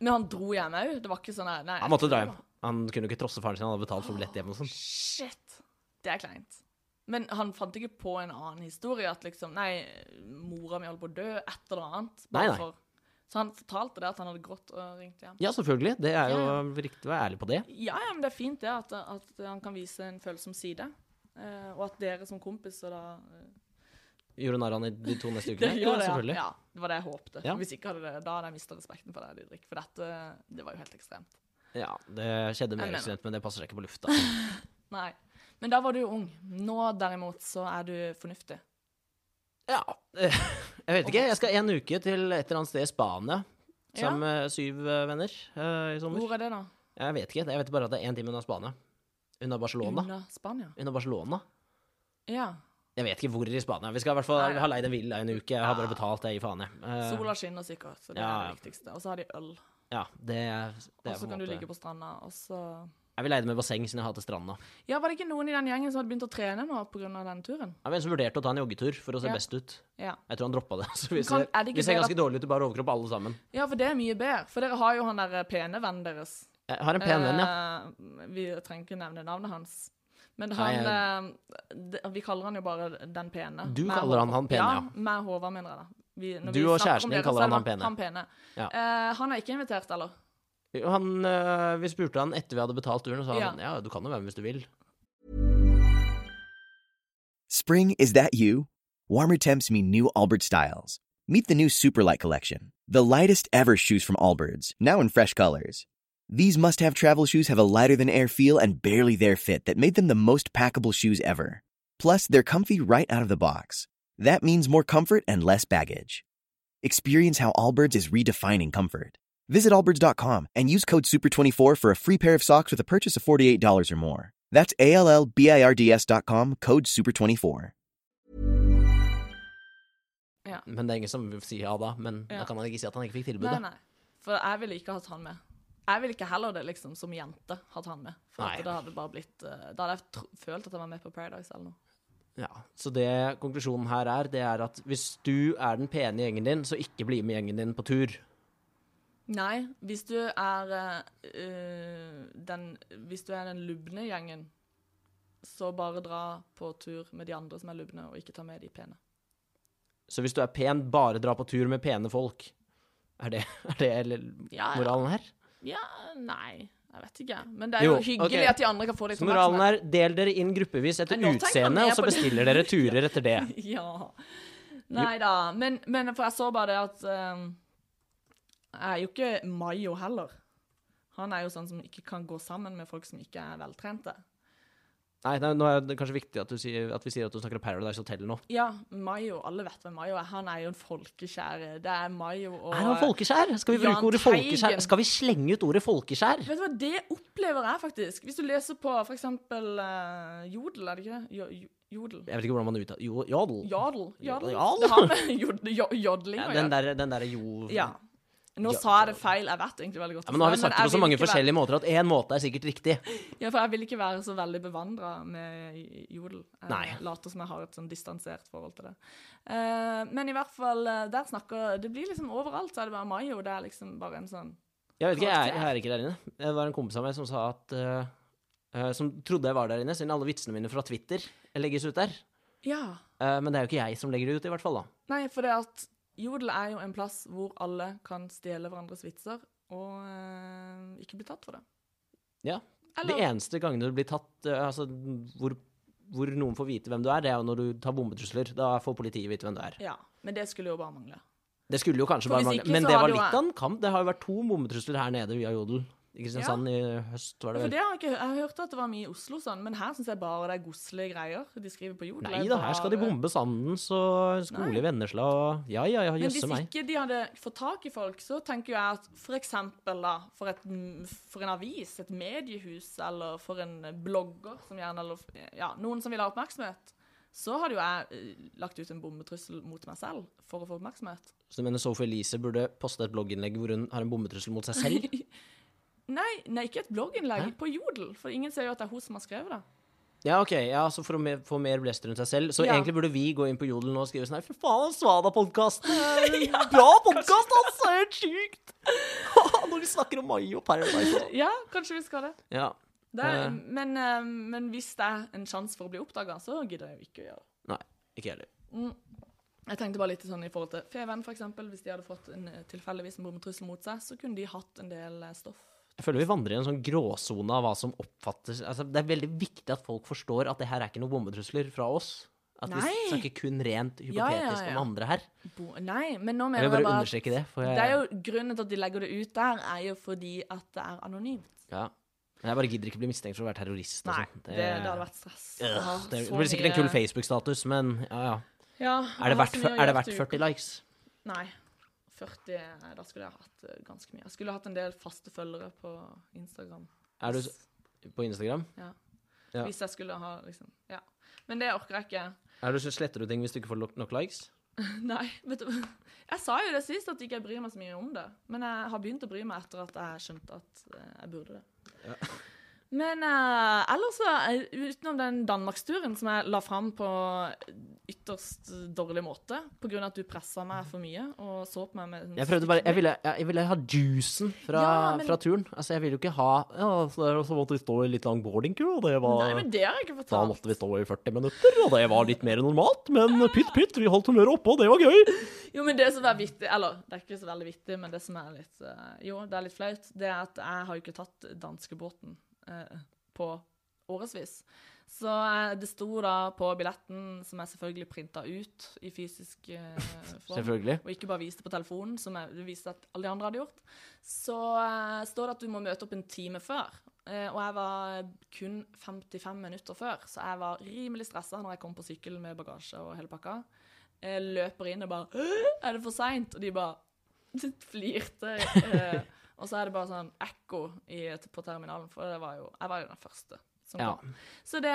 Men han dro hjem òg? Det var ikke sånn her nei,
Han måtte dra hjem. Han kunne jo ikke trosse faren sin, han hadde betalt for billett hjem og sånn.
Shit. Det er kleint. Men han fant ikke på en annen historie? At liksom Nei, mora mi holdt på å dø. Et eller annet. bare
Nei, nei.
for- Så han fortalte det at han hadde grått og ringt hjem.
Ja, selvfølgelig. Det er jo
Ja,
riktig å være ærlig på det.
Ja, ja, men det er fint det at, at han kan vise en følsom side. Eh, og at dere som kompiser da eh,
Gjorde narr av han i de to neste ukene?
Dere
Ja,
gjør det, ja.
selvfølgelig.
ja. Det var det jeg håpte.
Ja.
Hvis ikke hadde det, da hadde jeg mista respekten for deg, Didrik. For dette det var jo helt ekstremt.
Ja, det skjedde
Jeg
mer
mener.
ekstremt, men det passer seg ikke på lufta.
Nei. Men da var du ung. Nå derimot så er du fornuftig.
Ja. eh, Jeg vet ikke. Jeg skal en uke til et eller annet sted i Spania
Ja.
sammen med syv eh, venner eh, i sommer.
Hvor er det, da?
Jeg vet ikke. Jeg vet bare at det er én time unna Spania. Unna Barcelona.
Unna Spania?
Unna Barcelona.
Ja.
Jeg vet ikke hvor i Spania. Vi skal i hvert fall
Nei, ja. Ah.
ha leid en villa en uke. Jeg har bare betalt, jeg gir faen, jeg. Eh,
Sola skinner sikkert, så det
ja,
er
ja.
det viktigste. Og så har de øl,
Ja, det, det er på
og så
en
Altså, kan du
måte
ligge på stranda, og så
Jeg vil leide med basseng siden jeg hater stranda.
Ja, var det ikke noen i den gjengen som hadde begynt å trene nå pga. den turen?
Jeg var en som vurderte å ta en joggetur for å se
Ja.
best ut.
Ja.
Jeg tror han droppa det. Så vi
kan-
ser,
er det ikke
vi ser
bedre
ganske dårlig ut i bar overkropp, alle sammen.
ja, for det er mye bedre. For dere har jo han der pene vennen deres.
Jeg har en pen venn, ja.
Eh, vi trenger ikke nevne navnet hans. Men
Nei,
han eh, de- Vi kaller han jo bare Den pene.
Du
Med
kaller han
Håvard.
han pene, ja.
Med Håvard, mener jeg da. Vi, når
Du
vi
og
snakker om
kjæresten din
dere, så
kaller han
er
han
det
pene.
Han, pene. Eh, han er ikke invitert, eller?
Han, øh, vi spurte han etter vi hadde betalt turen, og sa han
Eh. Ja.
sånn, ja, du kan jo være med hvis du vil.
Spring, is that you? Warmer temps mean new Albert styles. Meet the new Superlight Collection, the lightest ever shoes from Allbirds, now in fresh colors. These must have travel shoes have a lighter than air feel and barely there fit that made them the most packable shoes ever. Plus, they're comfy right out of the box. That means more comfort and less baggage. Experience how Allbirds is redefining comfort. Visit Allbirds.com and use code SUPER24 for a free pair of socks with a purchase of $48 or more. That's A-L-L-B-I-R-D-S.com, code SUPER24.
Men det er ingen som sier ja da, men
Ja.
da kan han ikke si at han ikke fikk
Nei,
tilbudet.
nei. For jeg ville ikke hatt han med. Jeg ville ikke heller det, liksom, som jente, hatt han med. For
Nei.
at det hadde bare blitt eh, Da hadde jeg tro følt at jeg var med på Paradise eller noe.
Ja, så det konklusjonen her er, det er at hvis du er den pene i gjengen din, så ikke bli med gjengen din på tur.
Nei, hvis du er eh, eh, den Hvis du er den lubne gjengen, så bare dra på tur med de andre som er lubne, og ikke ta med de pene.
Så hvis du er pen, bare dra på tur med pene folk. Er det, er det eller,
Ja, ja.
moralen her?
Ja, nei Jeg vet ikke. Men det er jo,
Jo,
hyggelig
ok.
at de andre kan få litt
Så moralen er, del dere inn gruppevis etter
Nei, nå tenker han
utseende,
mer
og så
på det.
bestiller dere turer etter det.
Ja. Nei da. Men, men for jeg så bare det at ehm, Jeg er jo ikke Mayo heller. Han er jo sånn som ikke kan gå sammen med folk som ikke er veltrente.
Nei, nei, nå er det kanskje viktig at, du sier, at vi sier at du snakker om Paradise Hotel nå.
Ja, Mayo. Alle vet hvem Mayo er. Han er jo en folkekjære. Det er Mayo og
Er han folkeskjær? Skal vi
eh, Jahn
bruke ordet
Teigen.
folkeskjær? Skal vi slenge ut ordet folkeskjær?
Vet du hva, det opplever jeg faktisk. Hvis du leser på for eksempel eh, Jodel, er det ikke det? Jo, jo, jodel.
Jeg vet ikke hvordan man uttaler jo, Jodel?
Jodel. Jodel.
Jodel.
Det har med jod, jo-
Ja,
jodling å
den
gjøre.
der, den der jo...
Ja. Nå
Ja,
sa jeg det feil. Jeg vet egentlig veldig godt
Ja, men nå har vi
det,
sagt det
jeg
på så
vil
mange
ikke være-
forskjellige måter at én måte er sikkert riktig.
Ja, for jeg vil ikke være så veldig bevandra med jodel. Jeg
Nei.
later som jeg har et sånn distansert forhold til det. Eh, men i hvert fall, eh, der snakker Det blir liksom overalt, så er det bare Mayo. Det er liksom bare en sånn
Jeg vet ikke, jeg, er-
Karakter.
jeg er ikke der inne. Det var en kompis av meg som sa at eh, eh, Som trodde jeg var der inne, siden alle vitsene mine fra Twitter legges ut der.
Ja.
Eh, men det er jo ikke jeg som legger det ut, i hvert fall. da.
Nei, for det at jodel er jo en plass hvor alle kan stjele hverandres vitser og eh, ikke bli tatt for det.
Ja. De
Eller
eneste gangene du blir tatt, eh, altså hvor, hvor noen får vite hvem du er, det er jo når du tar bombetrusler. Da får politiet vite hvem du er.
Ja. Men det skulle jo bare mangle.
Det skulle jo kanskje
For
bare
hvis
mangle.
ikke,
Men
så
det
har
var
det jo-
litt av en kamp. Det har jo vært to bombetrusler her nede via Jodel. I Kristiansand i høst, var det
For
vel.
det har jeg, ikke, hø- jeg hørte at det var mye i Oslo, sånn, men her syns jeg bare det er godslige greier. De skriver på jodel.
Nei
Det er
da, her skal de
bare-
bombe Sandens og skole i Vennesla og Ja ja ja,
Men hvis
jøsse meg.
ikke de hadde fått tak i folk, så tenker jo jeg at for eksempel da, for, et, for en avis, et mediehus, eller for en blogger, som gjerne, eller ja, noen som vil ha oppmerksomhet, så hadde jo jeg eh, lagt ut en bombetrussel mot meg selv for å få oppmerksomhet.
Så du mener Sophie Elise burde poste et blogginnlegg hvor hun har en bombetrussel mot seg selv?
Nei, nei ikke et blogginnlegg,
Hæ?
på Jodel, for ingen ser jo at det er hun som har skrevet det.
Ja, ok, ja, så for å me- få mer blest rundt seg selv. Så
Ja.
egentlig burde vi gå inn på Jodel nå og skrive sånn her Fy faen, Svada-podkasten! Bra podkast, altså! Helt sjukt! Når de snakker om Mayo Paradise. og-
Ja, kanskje vi skal det.
Ja.
det er,
Eh.
men, eh, men hvis det er en sjanse for å bli oppdaga, så gidder jeg jo ikke å gjøre det.
Nei, ikke heller.
Jeg tenkte bare litt sånn i forhold til Feven, for eksempel. Hvis de hadde fått en eh, tilfeldigvis en bombetrussel mot seg, så kunne de hatt en del eh, stoff.
Jeg føler vi vandrer i en sånn gråsone av hva som oppfattes altså, Det er veldig viktig at folk forstår at det her er ikke noen bombetrusler fra oss. At vi
Nei.
snakker kun rent hypotetisk
Ja, ja, ja.
om andre her.
Bo Nei, men nå
Jeg vil
mener jeg
bare
bare at
understreke det. For jeg,
det er jo Grunnen til at de legger det ut der, er jo fordi at det er anonymt.
ja. Men jeg bare gidder ikke bli mistenkt for å være terrorist. og
Nei,
sånt.
det, det hadde vært stress. Jeg
Øh,
har
det
så
blir sikkert en kul
mye-
Facebook-status, men ja, ja.
Ja,
Er
jeg
det
har
verdt,
så mye å
er det
gjøre
verdt
til
40
uka.
likes?
Nei. 40, eh, da skulle jeg hatt eh, ganske mye. Jeg skulle hatt en del faste følgere på Instagram.
Er du s- på Instagram?
Ja.
Ja.
Hvis jeg skulle ha liksom Ja. Men det orker jeg ikke.
Er du så sletter du ting hvis du ikke får nok- nok likes?
Nei, vet du Jeg sa jo det sist at ikke jeg bryr meg så mye om det. Men jeg har begynt å bry meg etter at jeg skjønte at eh, jeg burde det. Men eh, ellers, så, eh, utenom den danmarksturen som jeg la fram på ytterst dårlig måte, pga. at du pressa meg for mye og så på meg med en
Jeg prøvde bare, jeg ville, jeg, jeg ville ha juicen fra,
Ja, men-
fra turen. Altså, jeg ville jo ikke ha ja, altså, så, der- så måtte vi stå i litt lang boardingkur, og det var
Nei, men det har jeg ikke
Da
fortalt.
måtte vi stå i 40 minutter, og det var litt mer enn normalt. Men pytt, pytt, vi holdt humøret oppe, og det var gøy.
Jo, men det som er vittig Eller, det er ikke så veldig vittig, men det som er litt eh, Jo, det er litt flaut, det er at jeg har jo ikke tatt danskebåten eh, på årevis. Så eh, det sto da på billetten, som jeg selvfølgelig printa ut i fysisk eh, form,
Selvfølgelig.
og ikke bare viste på telefonen, som jeg det viste at alle de andre hadde gjort, så eh, står det at du må møte opp en time før. Eh, og jeg var kun 55 minutter før, så jeg var rimelig stressa når jeg kom på sykkelen med bagasje og hele pakka. Jeg løper inn og bare «Åh, Er det for seint? Og de bare flirte. eh, og så er det bare sånn ekko i, på terminalen, for det var jo, jeg var jo den første. Som
Ja.
kom. Så det,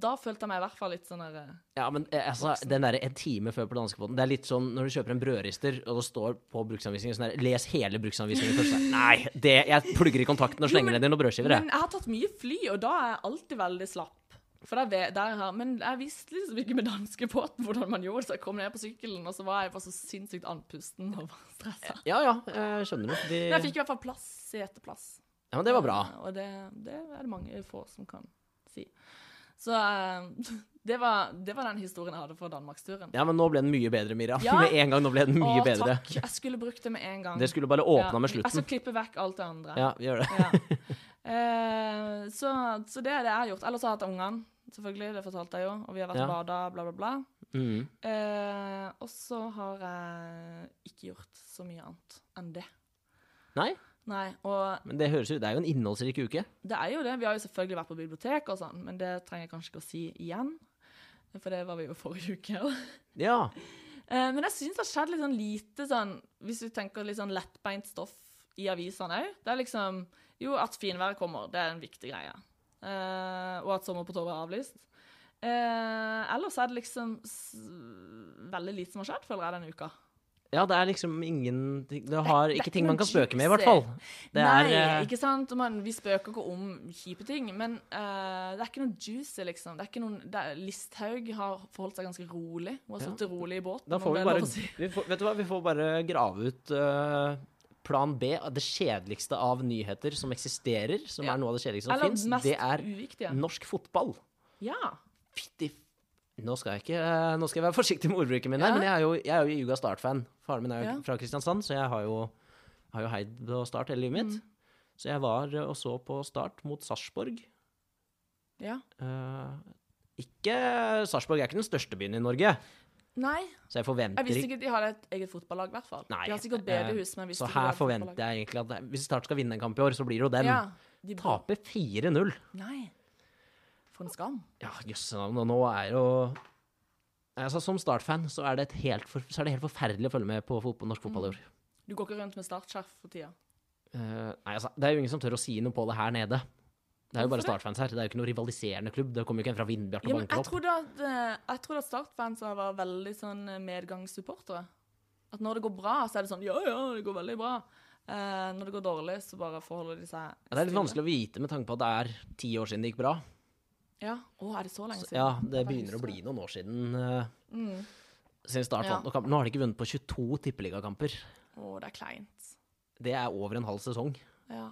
da følte jeg meg i hvert fall litt sånn der eh,
Ja, men eh, altså, den derre en time før på danskebåten, det er litt sånn når du kjøper en brødrister, og det står på bruksanvisningen sånn der Les hele bruksanvisningen først. Så er det, Nei, det, jeg plugger i kontakten og slenger
men-
ned i noen brødskiver,
Men
jeg.
jeg har tatt mye fly, og da er jeg alltid veldig slapp. For jeg vet, der har, men jeg visste liksom ikke med danskebåten hvordan man gjorde det, så jeg kom ned på sykkelen, og så var jeg bare så sinnssykt andpusten og var stressa.
Ja ja, jeg skjønner det. De...
Men jeg fikk i hvert fall plass, seteplass.
Ja, men det var bra.
Og det, det er det mange få som kan si. Så eh, det, var, det var den historien jeg hadde fra Danmarksturen.
Ja, men nå ble den mye bedre, Mira.
Ja.
Med en gang nå ble den mye
Å,
bedre.
takk! Jeg skulle brukt det med en gang.
Det skulle bare åpna med
Jeg skal
slutten.
klippe vekk alt det andre.
Ja, vi gjør det.
Ja. Eh, så, så det er det jeg har gjort. Ellers har jeg hatt ungene, selvfølgelig. Det fortalte jeg jo. Og vi har vært
Ja.
og bada, bla, bla, bla.
Mm.
Eh, og så har jeg ikke gjort så mye annet enn det.
Nei,
Nei, og
men det høres ut Det er jo en innholdsrik uke.
det er jo det. Vi har jo selvfølgelig vært på biblioteket og sånn, men det trenger jeg kanskje ikke å si igjen. For det var vi jo forrige uke òg.
Ja.
Eh, men jeg syns det har skjedd litt sånn lite sånn Hvis du tenker litt sånn lettbeint stoff i avisene òg. Det er liksom Jo, at finværet kommer, det er en viktig greie. Eh, og at Sommer på Torvet er avlyst. Eh, ellers er det liksom s veldig lite som har skjedd, føler jeg, denne uka.
Ja, det er liksom ingen Det har
det er
ikke
ikke
ting man
noe
kan spøke med, i
juicy.
hvert fall. Det er
Nei,
eh,
ikke sant? Og Man, vi spøker ikke om kjipe ting, men eh, det er ikke noe juicy, liksom. Det er ikke noen, det er, Listhaug har forholdt seg ganske rolig. Hun har
Ja.
sittet rolig i båten.
Da
om
får
det
vi
er
bare
lov å si.
vi får, Vet du hva, vi får bare grave ut eh, plan B, det kjedeligste av nyheter som eksisterer, som
Ja.
er noe av det kjedeligste som
Eller
fins.
mest
Det er
uviktige.
norsk fotball.
Ja.
Fytti f- Nå skal jeg ikke eh, Nå skal jeg være forsiktig med ordbruken min her,
Ja.
men jeg er jo, jeg er jo Juga Start-fan. Faren min er jo
Ja.
fra Kristiansand, så jeg har jo, har jo heid på Start hele livet
Mm.
mitt. Så jeg var eh, og så på Start mot Sarpsborg.
ja.
Eh, ikke Sarpsborg er ikke den største byen i Norge,
Nei,
så jeg forventer
jeg visste ikke at de hadde et eget fotballag, i hvert fall.
Nei,
de har sikkert
eh,
bedehus, men jeg visste
Så
ikke de
her
hadde et
forventer
fotballag.
jeg egentlig at det, hvis Start skal vinne en kamp i år, så blir det jo den.
ja, de
Taper 4-0.
Nei. For en skam.
Ja, jøssenavn. Og nå er jo Altså, Som Start-fan så, er det et helt for, så er det helt forferdelig å følge med på fotball, norsk
Mm.
fotball i år.
Du går ikke rundt med startskjerf for tida.
Eh, nei, altså, det er jo ingen som tør å si noe på det her nede. Det er jo
Hvorfor
bare
det?
Start-fans her. Det er jo ikke noe rivaliserende klubb. Det kommer jo ikke en fra Vindbjart og
Ja, men
banker
jeg
opp.
trodde at, eh, jeg trodde at Start-fansa var veldig sånn eh, medgangssupportere. At når det går bra, så er det sånn Ja, ja, det går veldig bra. Eh, når det går dårlig, så bare forholder de seg
Ja, det er litt vanskelig å vite med tanke på at det er ti år siden det gikk bra.
Ja. Å, er det så lenge
Så,
siden?
ja,
Jeg
det
kan
begynner
huske
å bli noen år siden eh,
Mm.
siden Start
Ja.
vant noen kamper. Nå har de ikke vunnet på 22 tippeligakamper.
Å, det er kleint.
Det er over en halv sesong.
Ja.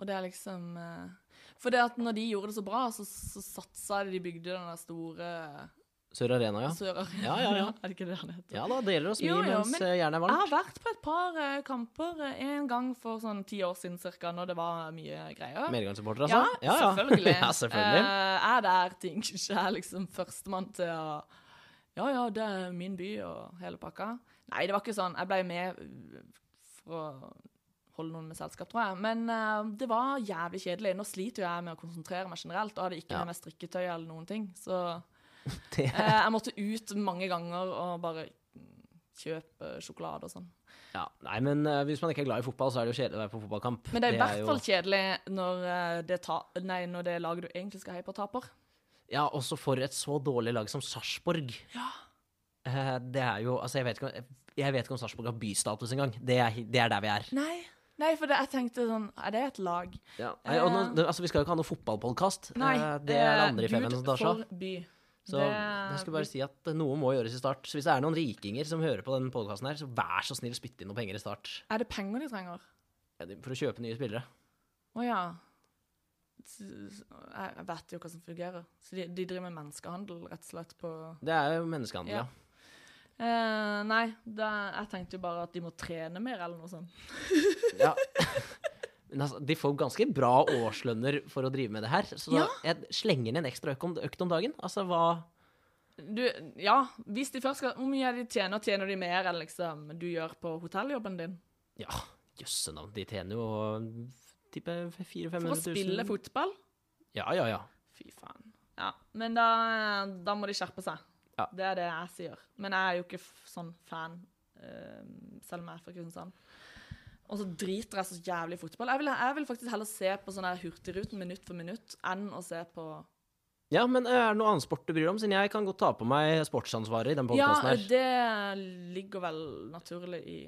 Og det er liksom eh, For det at når de gjorde det så bra, så, så satsa de, de bygde den der store
Sør Arena, ja.
sør
Ja, ja, ja.
er det ikke det han heter?
Ja da, det gjelder å smi
Altså, Jo, jo,
mens
men- Ah,
eh, jernet er
Jeg
varmt.
har vært på et par eh, kamper eh, en gang for sånn ti år siden cirka, når det var mye greier.
Medgangssupporter,
Ja,
altså?
selvfølgelig.
ja, selvfølgelig.
Eh, er der ting ikke er liksom førstemann til å Ja, ja, det er min by og hele pakka. Nei, det var ikke sånn. Jeg ble med uh, for å holde noen med selskap, tror jeg. Men eh, det var jævlig kjedelig. Nå sliter jo jeg med å konsentrere meg generelt, og hadde ikke
Ja.
med meg strikketøy eller noen ting. Så
Det-
eh, jeg måtte ut mange ganger og bare kjøpe sjokolade og sånn.
Ja, nei, men eh, hvis man ikke er glad i fotball, så er det jo kjedelig å være på fotballkamp.
Men det er i hvert
jo-
fall kjedelig når eh, det, ta nei, når det laget du egentlig skal heie på, taper.
Ja, også for et så dårlig lag som Sarpsborg. Eh, Det er jo Altså, jeg vet ikke om, jeg vet ikke om Sarpsborg har bystatus engang. Det, er- det er der vi er.
Nei, Nei, for det, jeg tenkte sånn Er det et lag?
Ja. Nei, og nå, det, altså, vi skal jo ikke ha noe fotballpodkast.
Nei.
Eh, Det er det andre i Femmen som
Gud
tar seg av.
forby.
Så jeg skulle bare si at eh, noe må gjøres i Start. Så hvis det er noen rikinger som hører på denne podkasten her, så vær så snill spytt inn noe penger i Start.
Er det penger de trenger?
Ja, det- For å kjøpe nye spillere.
Å ja. S- s- Jeg jeg vet jo hva som fungerer. Så de, de driver med menneskehandel, rett og slett, på
Det er jo menneskehandel,
Ja.
ja.
eh, Nei, da, jeg tenkte jo bare at de må trene mer, eller noe sånt.
ja. Men altså, de får ganske bra årslønner for å drive med det her. Så
Ja.
jeg slenger ned en ekstra økt om, økt om dagen. Altså hva
Du, ja, hvis de først skal Hvor mye er det de tjener? Tjener de mer enn liksom du gjør på hotelljobben din?
Ja, jøsse navn. De tjener jo type 400 000-500
For å
000.
spille fotball?
Ja, ja, ja.
Fy faen. Ja, men da, da må de skjerpe seg.
Ja.
Det er det jeg sier. Men jeg er jo ikke f- sånn fan, eh, selv om jeg er fra Kristiansand. Og så driter jeg så jævlig i fotball. Jeg vil, jeg vil faktisk heller se på sånn her Hurtigruten minutt for minutt enn å se på
Ja, men eh, er det noe annen sport du bryr deg om? Siden jeg kan godt ta på meg sportsansvaret i den
Ja,
podkasten her.
det ligger vel naturlig i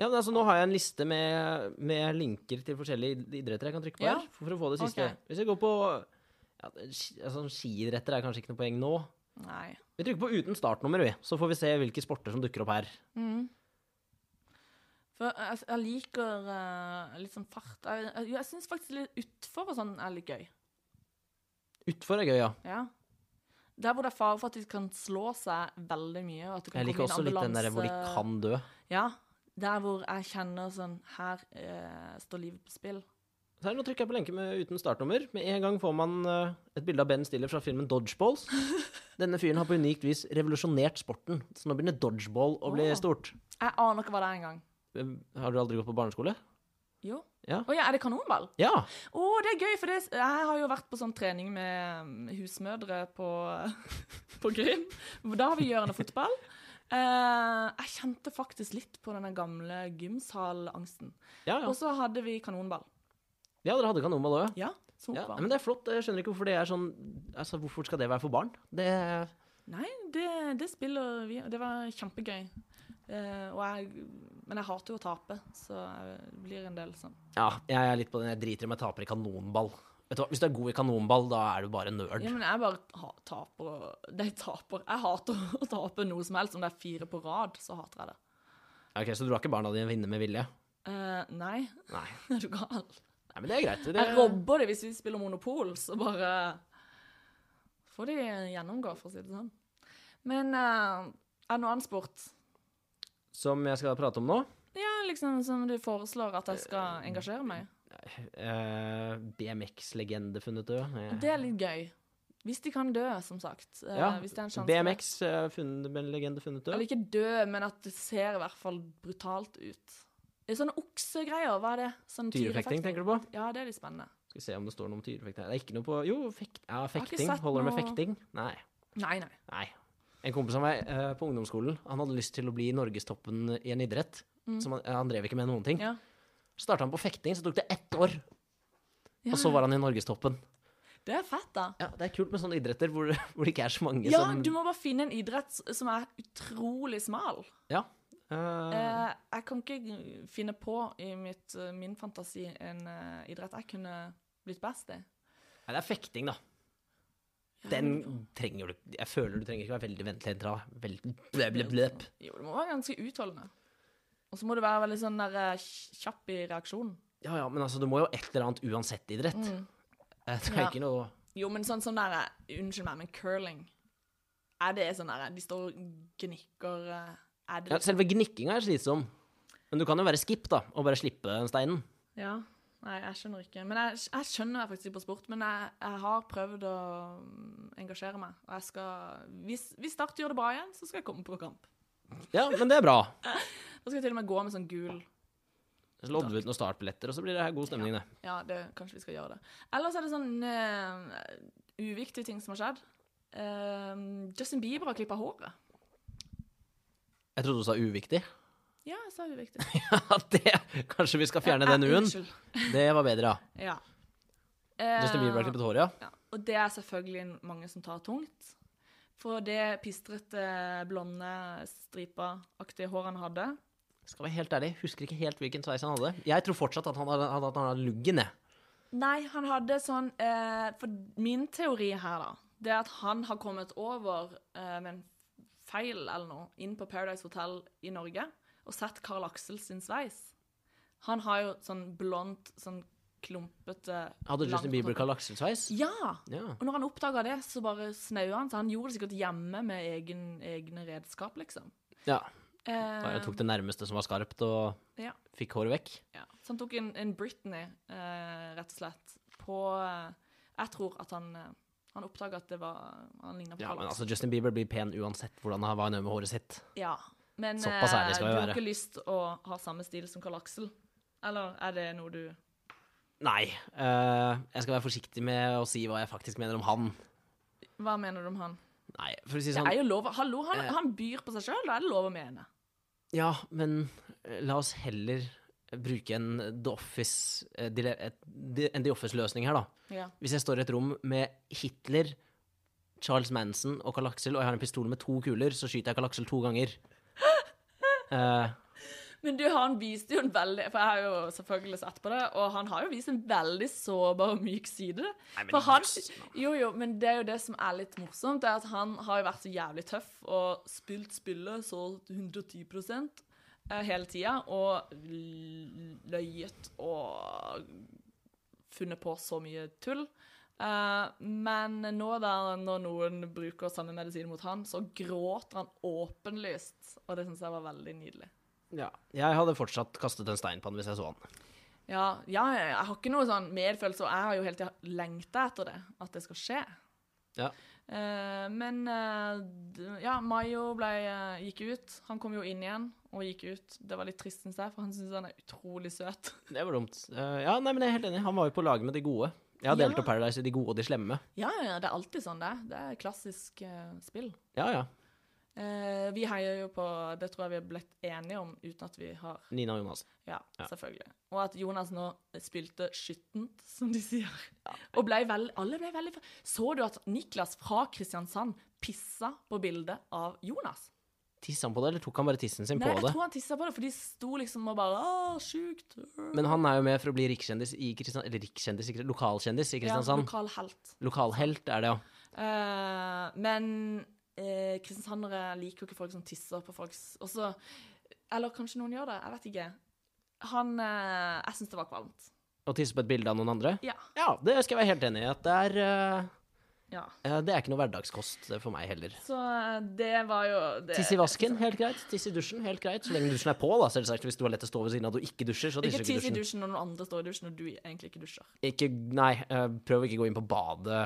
Ja, men altså, nå har jeg en liste med, med linker til forskjellige id- idretter jeg kan trykke på
Ja.
her. For å få det siste.
Ok.
Hvis jeg går på ja, ski- altså, Skiidretter er kanskje ikke noe poeng nå.
Nei.
Vi trykker på uten startnummer, vi. Så får vi se hvilke sporter som dukker opp her.
For jeg, jeg liker eh, litt sånn fart. Jeg, jeg, jeg syns faktisk litt utfor og sånn er litt gøy.
Utfor er gøy, ja.
Ja. Der hvor det er fare for at de kan slå seg veldig mye. Og at det kan
Jeg liker også
komme inn
litt den
ambulanse.
der hvor de kan dø.
Ja. Der hvor jeg kjenner sånn Her eh, står livet på spill.
Så her, nå trykker jeg på lenke med uten startnummer. Med en gang får man eh, et bilde av Ben Stiller fra filmen Dodgeballs. Denne fyren har på unikt vis revolusjonert sporten, så nå begynner dodgeball å bli
Åh.
stort.
Jeg aner ikke hva det er engang.
Eh, Har du aldri gått på barneskole?
Jo.
Ja.
Å ja, er det kanonball?
Ja!
Å, det er gøy, for det, jeg har jo vært på sånn trening med mm, husmødre på, på Gryn. Da har vi gjørende fotball. Eh, jeg kjente faktisk litt på denne gamle gymsalangsten.
Ja, ja.
Og så hadde vi kanonball.
ja dere hadde kanonball òg, ja.
Ja, som
ja.
oppvarming.
Men det er flott. Jeg skjønner ikke hvorfor det er sånn Altså, hvorfor skal det være for barn? Det
Nei, det, det spiller vi, og det var kjempegøy. Eh, og jeg, men jeg hater jo å tape, så jeg blir en del sånn.
Ja, jeg er litt på den. Jeg driter i om jeg taper i kanonball. Vet du hva, Hvis du er god i kanonball, da er du bare nerd.
Ja, men jeg bare ha, taper og Nei, taper. Jeg hater å tape noe som helst. Om det er fire på rad, så hater jeg det.
Ok, Så du lar ikke barna dine vinne med vilje?
Eh, nei,
Nei.
er du gal?
Nei, men det er greit. Det...
Jeg robber det hvis vi spiller Monopol, så bare får de gjennomgå, for å si det sånn. Men eh, er det noe annen sport?
Som jeg skal prate om nå.
Ja, liksom som du foreslår at jeg skal engasjere meg i?
Eh, BMX-legende funnet død. Eh,
Det er litt gøy. Hvis de kan dø, som sagt. Eh,
ja.
Hvis det er en sjanse for det.
BMX eh, funnet, med en legende funnet
Eller
død.
ikke dø, men at det ser i hvert fall brutalt ut. Det er sånne oksegreier, hva er det? Sånn
Tyrefekting, tenker du på?
Ja, det er litt spennende.
Skal vi se om det står noe om tyrefekting her. Det er ikke noe på Jo, fekt, ja,
ikke
fekting.
sett
Holder det med
noe-
fekting? Nei.
Nei, nei.
Nei. En kompis av meg eh, på ungdomsskolen Han hadde lyst til å bli norgestoppen i en idrett. Som han, eh, han drev ikke med noen ting.
Mm. Ja.
Starta han på fekting, så tok det ett år. Og så var han i norgestoppen.
Det er fett, da.
Ja, det er kult med sånne idretter hvor, hvor det ikke er så mange
Ja,
som
du må bare finne en idrett s- som er utrolig smal.
Ja. Eh,
Eh, jeg kan ikke finne på i mitt, eh, min fantasi en eh, idrett jeg kunne blitt best i.
Nei, det er fekting, da. Den trenger du Jeg føler du trenger ikke være veldig ventelig. Veldig bløp, bløp, bløp.
Mm. Jo, det må være ganske utholdende. Og så må du være veldig sånn der eh, kjapp i reaksjonen.
Ja ja, men altså, du må jo et eller annet uansett idrett. Eh, Det er
Ja.
ikke noe
Jo, men sånn som der Unnskyld meg, men curling Er det sånn der De står og gnikker eh, Er det
ja, Selve gnikkinga er slitsom. Men du kan jo være skip, da, og bare slippe den steinen.
Ja. Nei, jeg skjønner ikke. Men jeg, jeg skjønner jeg faktisk ikke på sport. Men jeg, jeg har prøvd å mm, engasjere meg. Og jeg skal hvis, hvis Start gjør det bra igjen, så skal jeg komme på kamp.
Ja, men det er bra.
Da skal jeg til og med gå med sånn gul
Så lodder vi ut noen startbilletter, og så blir det her god stemning, det.
Ja, det, kanskje vi skal gjøre det. Ellers er det sånn eh, uviktige ting som har skjedd. Eh, Justin Bieber har klippa håret.
Jeg trodde du sa uviktig.
Ja, jeg sa uviktig.
Ja, det Kanskje vi skal fjerne den
Eh,
U-en?
Unnskyld.
Det var bedre, ja.
Ja. Eh,
Justin Bieber har klippet håret, ja.
Ja, og det er selvfølgelig mange som tar tungt. For det pistrete, blonde, stripa-aktige håret han hadde,
Skal være helt ærlig, husker ikke helt hvilken sveis han hadde. Jeg tror fortsatt at han hadde, at han hadde luggen, jeg.
Nei, han hadde sånn eh, For min teori her, da, det er at han har kommet over eh, med en feil eller noe inn på Paradise Hotel i Norge og sett Carl Axel sin sveis. Han har jo sånn blondt, sånn klumpete
Hadde Justin
langt-
Bieber Carl Axel-sveis?
Ja!
Ja.
Og når han oppdaga det, så bare snaua han. Så han gjorde det sikkert hjemme med egen, egne redskap, liksom.
ja.
Eh,
Jeg tok det nærmeste som var skarpt, og
ja,
fikk håret vekk.
ja. Så han tok en, en Britney, eh, rett og slett, på eh, Jeg tror at han eh, han oppdaga at det var Han ligna på
Ja,
Carl
men
Axel.
altså, Justin Bieber blir pen uansett hvordan han var nøye med håret sitt.
Ja. Men eh,
Såpass ærlig skal vi
du har
være.
ikke lyst å ha samme stil som Carl Axel? Eller er det noe du
Nei. eh, jeg skal være forsiktig med å si hva jeg faktisk mener om han.
Hva mener du om han?
Nei, for å si
Det
sånn
er jo lov å- Hallo, han,
Eh.
han byr på seg sjøl, da er det lov å mene.
Ja, men eh, la oss heller bruke en The Office eh, dile- et- di- En The Office-løsning her, da.
Ja.
Hvis jeg står i et rom med Hitler, Charles Manson og Carl Axel, og jeg har en pistol med to kuler, så skyter jeg Carl Axel to ganger. Eh,
Men du, han viste jo en veldig For jeg har jo selvfølgelig sett på det, og han har jo vist en veldig sårbar og myk side.
men
for han,
jøss,
jo, jo, men det er jo det som er litt morsomt, det er at han har jo vært så jævlig tøff og spilt spillet så 110 eh, hele tida, og l- løyet og funnet på så mye tull. Eh, men nå da, når noen bruker samme medisin mot han, så gråter han åpenlyst, og det syns jeg var veldig nydelig.
ja. Jeg hadde fortsatt kastet en stein på han hvis jeg så han.
Ja, ja, ja, jeg har ikke noe sånn medfølelse, og jeg har jo hele tida lengta etter det. At det skal skje.
Ja.
Eh, men eh, d- ja, Mayo ble, eh, gikk ut. Han kom jo inn igjen og gikk ut. Det var litt trist, syns jeg, for han syns han er utrolig søt.
Det var dumt. Eh, ja, nei, men jeg er helt enig. Han var jo på lag med de gode. Jeg har
Ja.
delt opp Paradise i de gode og de slemme.
Ja, ja, ja, det er alltid sånn det er. Det er klassisk eh, spill.
Ja, ja.
Eh, vi heier jo på Det tror jeg vi har blitt enige om uten at vi har
Nina og Jonas.
Ja, selvfølgelig. Og at Jonas nå spilte skittent, som de sier. Og ble vel, alle ble veldig Så du at Niklas fra Kristiansand pissa på bildet av Jonas?
Tissa han på det, eller tok han bare tissen sin
Nei,
på
jeg
det?
tror han tissa på det, for de sto liksom og bare Å, sjukt.
Men han er jo med for å bli rikskjendis i Kristiansand Eller rikskjendis, ikke lokalkjendis i Kristiansand.
Ja, lokal helt.
Lokalhelt er det, ja.
Eh, men eh, kristiansandere liker jo ikke folk som tisser på folks Og så Eller kanskje noen gjør det, jeg vet ikke. Han eh, Jeg syns det var kvalmt.
Å tisse på et bilde av noen andre?
Ja.
Ja, det skal jeg være helt enig i. At det er eh,
ja.
eh, Det er ikke noe hverdagskost eh, for meg heller.
Så eh, det var jo det.
Tisse i vasken, helt greit. Tisse i dusjen, helt greit. Så lenge dusjen er på, da, selvsagt. Hvis du har lett å stå ved siden av og ikke dusjer, så
Ikke
tisser du
tiss
ikke
i
i dusjen.
dusjen når noen andre står i dusjen, og du egentlig ikke dusjer.
Ikke, nei, eh, prøv å ikke gå inn på badet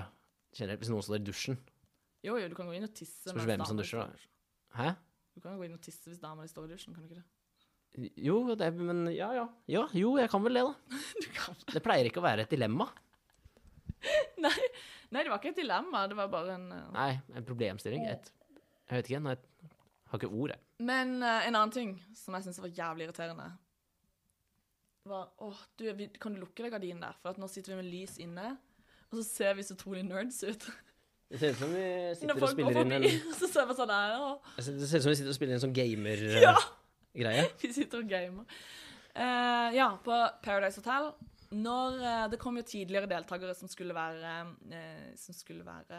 generelt hvis noen står i dusjen.
Jo, jo, du kan gå inn og tisse.
Spørs
mens
hvem som
damen
dusjer,
står i dusjen.
da. Hæ?
Du kan jo gå inn og tisse hvis dama di står i dusjen, kan du ikke det?
Jo, det, men ja, ja. ja. Jo, jeg kan vel det, da. Det pleier ikke å være et dilemma.
Nei, nei, det var ikke et dilemma, det var bare en eh,
Nei, en problemstilling. Et, jeg vet ikke, nei, jeg har ikke ord, jeg.
Men eh, en annen ting som jeg syns var jævlig irriterende, var Åh, du, vi, kan du lukke deg gardinen der? For at nå sitter vi med lys inne, og så ser vi så utrolig nerds ut.
Det ser ut som vi
Når
sitter og
folk går
spiller inn en altså,
forbi, så ser vi sånn her, åh.
Det ser ut som vi sitter og spiller inn en sånn
Ja!
gamer-greie.
Vi sitter og gamer. Eh, ja, på Paradise Hotel Når eh, Det kom jo tidligere deltakere som skulle være eh, Som skulle være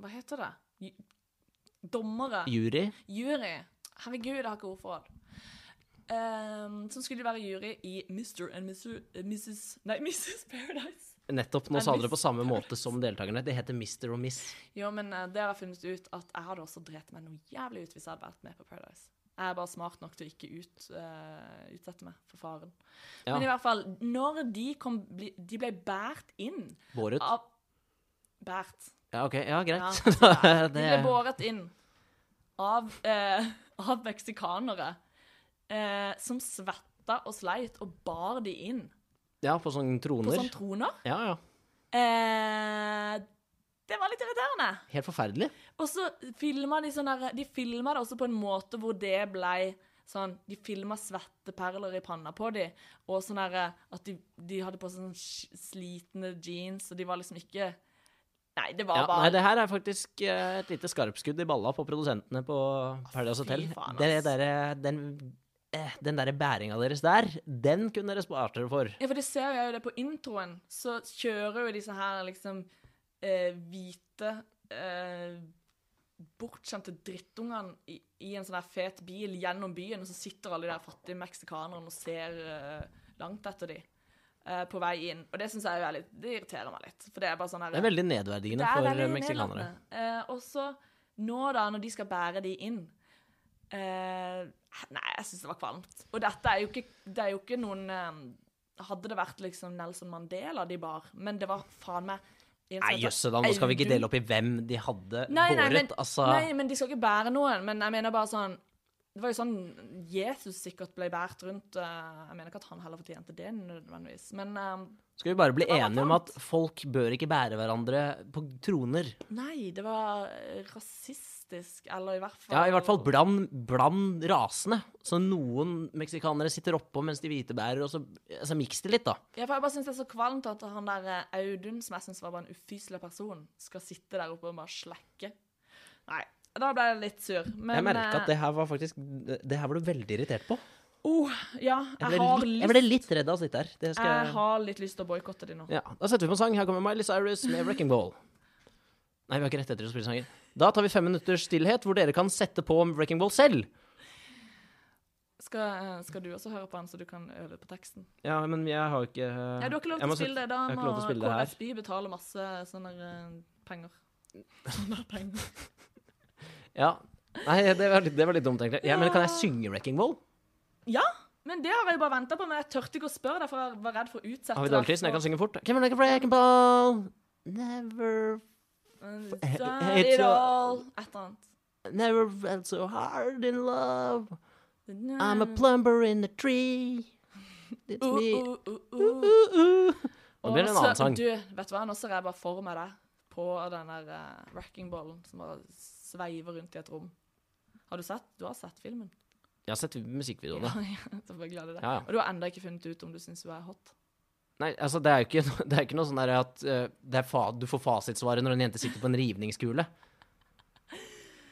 Hva heter det? Ju- Dommere.
Jury.
Jury. Herregud, jeg har ikke ord for det. Eh, som skulle være jury i Mr. and Mr. eh, Mrs. Nei, Mrs. Paradise.
Nettopp. Nå
Jeg
sa dere det på
visste
samme måte som deltakerne. Det heter Mister og Miss.
Jo, men eh, det har jeg funnet ut at jeg hadde også drept meg noe jævlig ut hvis jeg hadde vært med på Paradise. Jeg er bare smart nok til å ikke ut, eh, utsette meg for faren.
Ja.
Men i hvert fall, når de kom bli, De ble båret inn
Båret.
av Båret.
Ja, ok. Ja,
Ja,
greit.
de
det,
ble båret inn av, eh, av meksikanere eh, som svetta og sleit og bar de inn
ja, på sånne
på sånn
troner.
sånne troner.
Ja, ja.
Eh, det var litt irriterende.
Helt forferdelig.
Og så filma de sånn der De filma det også på en måte hvor det blei sånn De filma svetteperler i panna på de, og sånn derre At de, de hadde på seg sånn sk- slitne jeans, og de var liksom ikke Nei, det var
Ja,
bare
nei, det her er faktisk eh, et lite skarpskudd i balla på produsentene på Paradise
fy
Hotel.
faen,
Det
ass.
der, den eh, den derre bæringa deres der, den kunne dere spart dere for.
Ja, for det ser jeg jo det på introen. Så kjører jo disse her liksom eh, hvite eh, bortskjemte drittungene i, i en sånn her fet bil gjennom byen, og så sitter alle de der fattige meksikanerne og ser eh, langt etter de eh, på vei inn. Og det syns jeg jo er litt Det irriterer meg litt. For det er bare sånn her
Det er veldig nedverdigende for eh, meksikanere.
nedlatende. Eh, og så nå, da, når de skal bære de inn eh, Nei, jeg syns det var kvalmt. Og dette er jo ikke, det er jo ikke noen eh, Hadde det vært liksom Nelson Mandela de bar, men det var faen meg en som
Nei,
heter
jøsse da, nå skal vi ikke
Audun-
dele opp i hvem de hadde
Nei, nei,
båret.
men,
altså,
nei, men de skal ikke bære noen. Men jeg mener bare sånn Det var jo sånn Jesus sikkert ble båret rundt. eh, jeg mener ikke at han heller fortjente det nødvendigvis, men eh,
skal vi bare bli
Det var
enige om
sant.
at folk bør ikke bære hverandre på troner?
Nei, det var eh, rasistisk, eller i hvert fall
Ja, i hvert fall bland, bland rasene. Så noen meksikanere sitter oppå mens de hvite bærer, og så altså, miks det litt, da.
Ja, for jeg bare synes det er så kvalmt at han der eh, Audun, som jeg synes var bare en ufyselig person, skal sitte der oppe og bare slekke. Nei, da ble jeg litt sur. Men,
jeg merka at
eh,
det her var faktisk Det her var du veldig irritert på.
Oh, ja,
Jeg
jeg,
ble,
har
litt,
lyst,
jeg ble litt redd av å sitte her. Det skal
jeg
jeg
har litt lyst til å boikotte de nå.
Ja, da setter vi på en sang. Her kommer Miley Cyrus med 'Wrecking Ball'. Nei, vi har ikke rett etter å spille sanger. Da tar vi fem minutters stillhet, hvor dere kan sette på 'Wrecking Ball' selv.
Skal, eh, skal du også høre på han, så du kan øve på teksten?
Ja, men jeg har ikke eh,
Ja, du har ikke lov
jeg
til
må
å spille det. Da
jeg har ikke
må
lov til å spille det her.
KFB betale masse sånne eh, penger. Sånne penger.
sette- Ja. Nei, det var litt, det var litt dumt, egentlig. Ja, men kan jeg synge 'Wrecking Ball'?
Ja, men det har jeg bare ventet på, men jeg tørte ikke å spørre deg, for jeg var redd for å utsette altså.
Har vi
deg
dagkristen? Jeg
for-
kan synge fort. Can we make a wrecking ball? Never,
Start
It's
it
a-
all. Et eller annet.
never felt so hard in love. I'm a
Nei.
plumber in a tree. It's
Uh,
me.
uh, uh, uh.
Uh, uh. Nå blir det en
Og
annen
så-
sang.
Du, vet du hva, nå ser jeg bare for meg deg på den der uh, wrecking-ballen som bare sveiver rundt i et rom. Har du sett? Du har sett filmen?
Jeg har sett musikkvideoene.
Ja, ja, så bare gleder jeg deg.
Ja, ja.
Og du har enda ikke funnet ut om du syns hun er hot.
Nei, altså det er jo ikke, no- det er ikke noe sånn der at eh, det er fa du får fasitsvaret når en jente sitter på en rivningskule.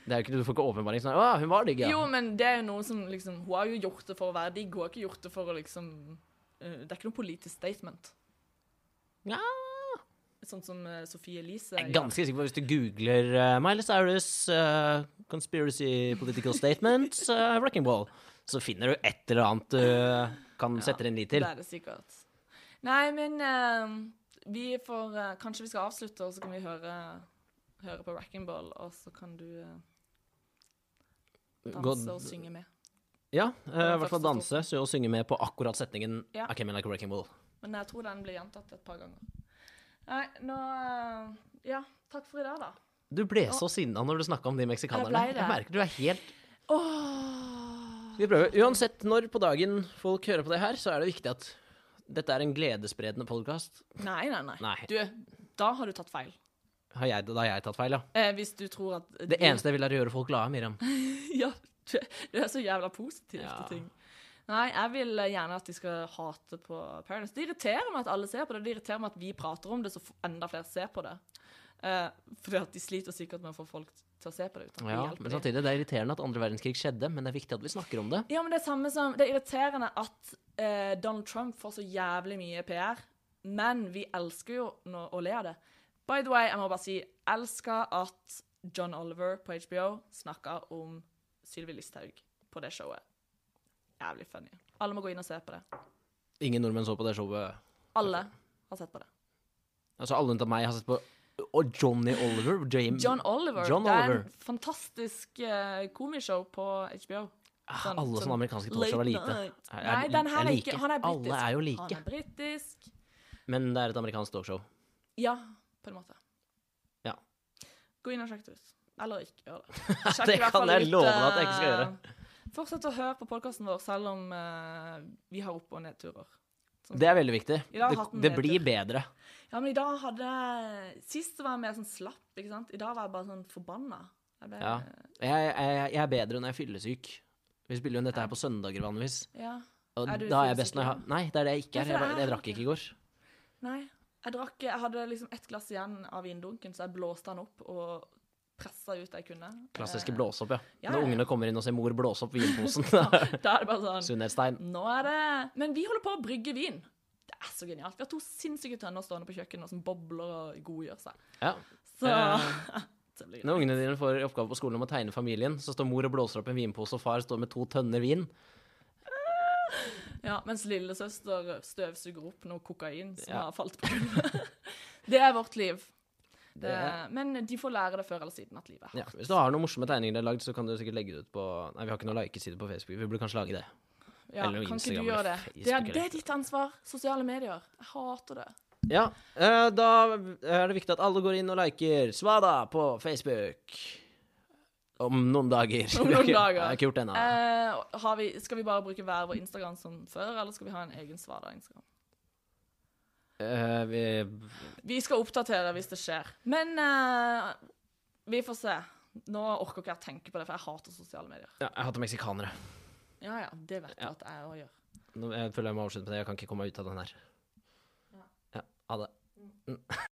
Det er jo ikke, du får ikke åpenbaring sånn Å, hun var digg, ja.
Jo, men det er jo noe som liksom Hun har jo gjort det for å være digg, hun har ikke gjort det for å liksom eh, Det er ikke noe politisk statement.
ja.
Sånn som eh, Sophie Elise
Jeg er
gjør.
ganske sikker på at hvis du googler eh, Miley Cyrus eh, 'conspiracy political statements eh, wrecking ball', så finner du et eller annet du eh, kan sette din lit til.
Det er det sikkert. Nei, men eh, vi får eh, Kanskje vi skal avslutte, og så kan vi høre, høre på Wrecking Ball, og så kan du eh, danse
Gå-
og synge med.
Ja, eh, i
Den
hvert fall
første
danse så og synge med på akkurat setningen
Ja.
'I came in like a wrecking ball'.
Men jeg tror den blir gjentatt et par ganger. Nei, nå eh, Ja, takk for i dag, da.
Du ble så sinna når du snakka om de
Jeg ble
meksikanerne.
det.
Jeg merker du er helt
Åh.
Vi prøver. Uansett når på dagen folk hører på det her, så er det viktig at dette er en gledesspredende podkast.
Nei, nei, nei,
Nei.
Du, da har du tatt feil.
Har jeg, da har jeg tatt feil, ja.
Eh, hvis du tror at
Det eneste jeg vil, er å gjøre folk glade, Miriam.
Ja, du, du er så jævla positiv
Ja.
til ting. Nei, jeg vil eh, gjerne at de skal hate på Paradise. Det irriterer meg at alle ser på det. Det irriterer meg at vi prater om det, så f- enda flere ser på det. Eh, fordi at de sliter sikkert med å få folk til å se på det. Uten at vi
Ja,
hjelper
men
dem.
samtidig, det er irriterende at andre verdenskrig skjedde, men det er viktig at vi snakker om det.
Ja, men det er samme som Det er irriterende at eh, Donald Trump får så jævlig mye PR, men vi elsker jo nå å le av det. By the way, jeg må bare si elsker at John Oliver på HBO snakka om Sylvi Listhaug på det showet. Jævlig funny. Alle må gå inn og se på det.
Ingen nordmenn så på det showet.
Alle har sett på det.
Altså, alle unntatt meg har sett på Og Johnny Oliver. James.
John Oliver.
John
Det
Oliver.
er en fantastisk eh, komishow på HBO.
Ah, alle sånne amerikanske talkshow er
late
lite.
night.
Er- er-
Nei, den her
er
er
like.
ikke Han er
Alle
britisk.
er jo like.
Han er britisk.
Men det er et amerikansk talkshow.
Ja, på en måte.
Ja.
Gå inn og sjekk det ut. Eller ikke gjør det.
Det
i hvert
kan
fall
jeg
ut,
love deg at jeg ikke skal
eh,
gjøre.
Fortsett å høre på podkasten vår selv om eh, vi har opp- og nedturer.
Det er veldig viktig.
I dag har
Det,
hatten
det
nedtur.
blir bedre.
Ja, men i dag hadde Sist så var jeg mer sånn slapp, ikke sant? I dag var jeg bare sånn forbanna. Jeg ble,
Ja. Jeg, jeg, jeg er bedre når jeg er fyllesyk. Vi spiller jo inn dette her på søndager vanligvis.
ja.
Og
Er du
da er jeg
fyllesyk
best når jeg har
igjen?
Nei, det er det jeg ikke
Ja,
er.
for
Jeg,
det
bare-
er
jeg
du
drakk
ikke.
ikke i går.
Nei. Jeg drakk Jeg hadde liksom ett glass igjen av vindunken, så jeg blåste den opp og pressa ut det jeg kunne.
Klassiske
Eh,
blåsopp, ja.
ja,
Når
ja.
ungene kommer inn og ser mor blåse opp vinposen.
Da er det bare sånn
Sunnhetstegn.
Nå er det Men vi holder på å brygge vin. Det er så genialt. Vi har to sinnssyke tønner stående på kjøkkenet som bobler og godgjør seg.
Ja.
Så
Eh,
det blir
Når ungene dine får i oppgave på skolen om å tegne familien, så står mor og blåser opp en vinpose, og far står med to tønner vin.
Ja, mens lillesøster støvsuger opp noe kokain som
Ja.
har falt på gulvet. det er vårt liv. Det,
Det-
men de får lære det før eller siden at livet er
Ja.
hardt.
Hvis du har noen morsomme tegninger du har lagd, så kan du sikkert legge det ut på Nei, vi har ikke noen likeside på Facebook. Vi burde kanskje lage det.
Ja,
eller noe
kan ikke
Instagram
du gjøre
eller
det?
Facebook
Det er,
eller-
det er ditt ansvar. Sosiale medier. Jeg hater det.
Ja, eh, da er det viktig at alle går inn og liker Svada på Facebook. Om noen dager.
Om noen
Jeg har ikke-
dager.
Jeg har ikke gjort det ennå.
Eh, har vi, skal vi bare bruke hver vår Instagram som før, eller skal vi ha en egen Svada-Instagram?
Eh, vi-
Vi skal oppdatere hvis det skjer. Men eh, vi får se. Nå orker ikke jeg tenke på det, for jeg hater sosiale medier.
ja, jeg hater meksikanere.
Ja, ja, det vet jeg at jeg òg gjør.
Nå, jeg føler jeg må avslutte med det. Jeg kan ikke komme meg ut av den her. Ja, ha det.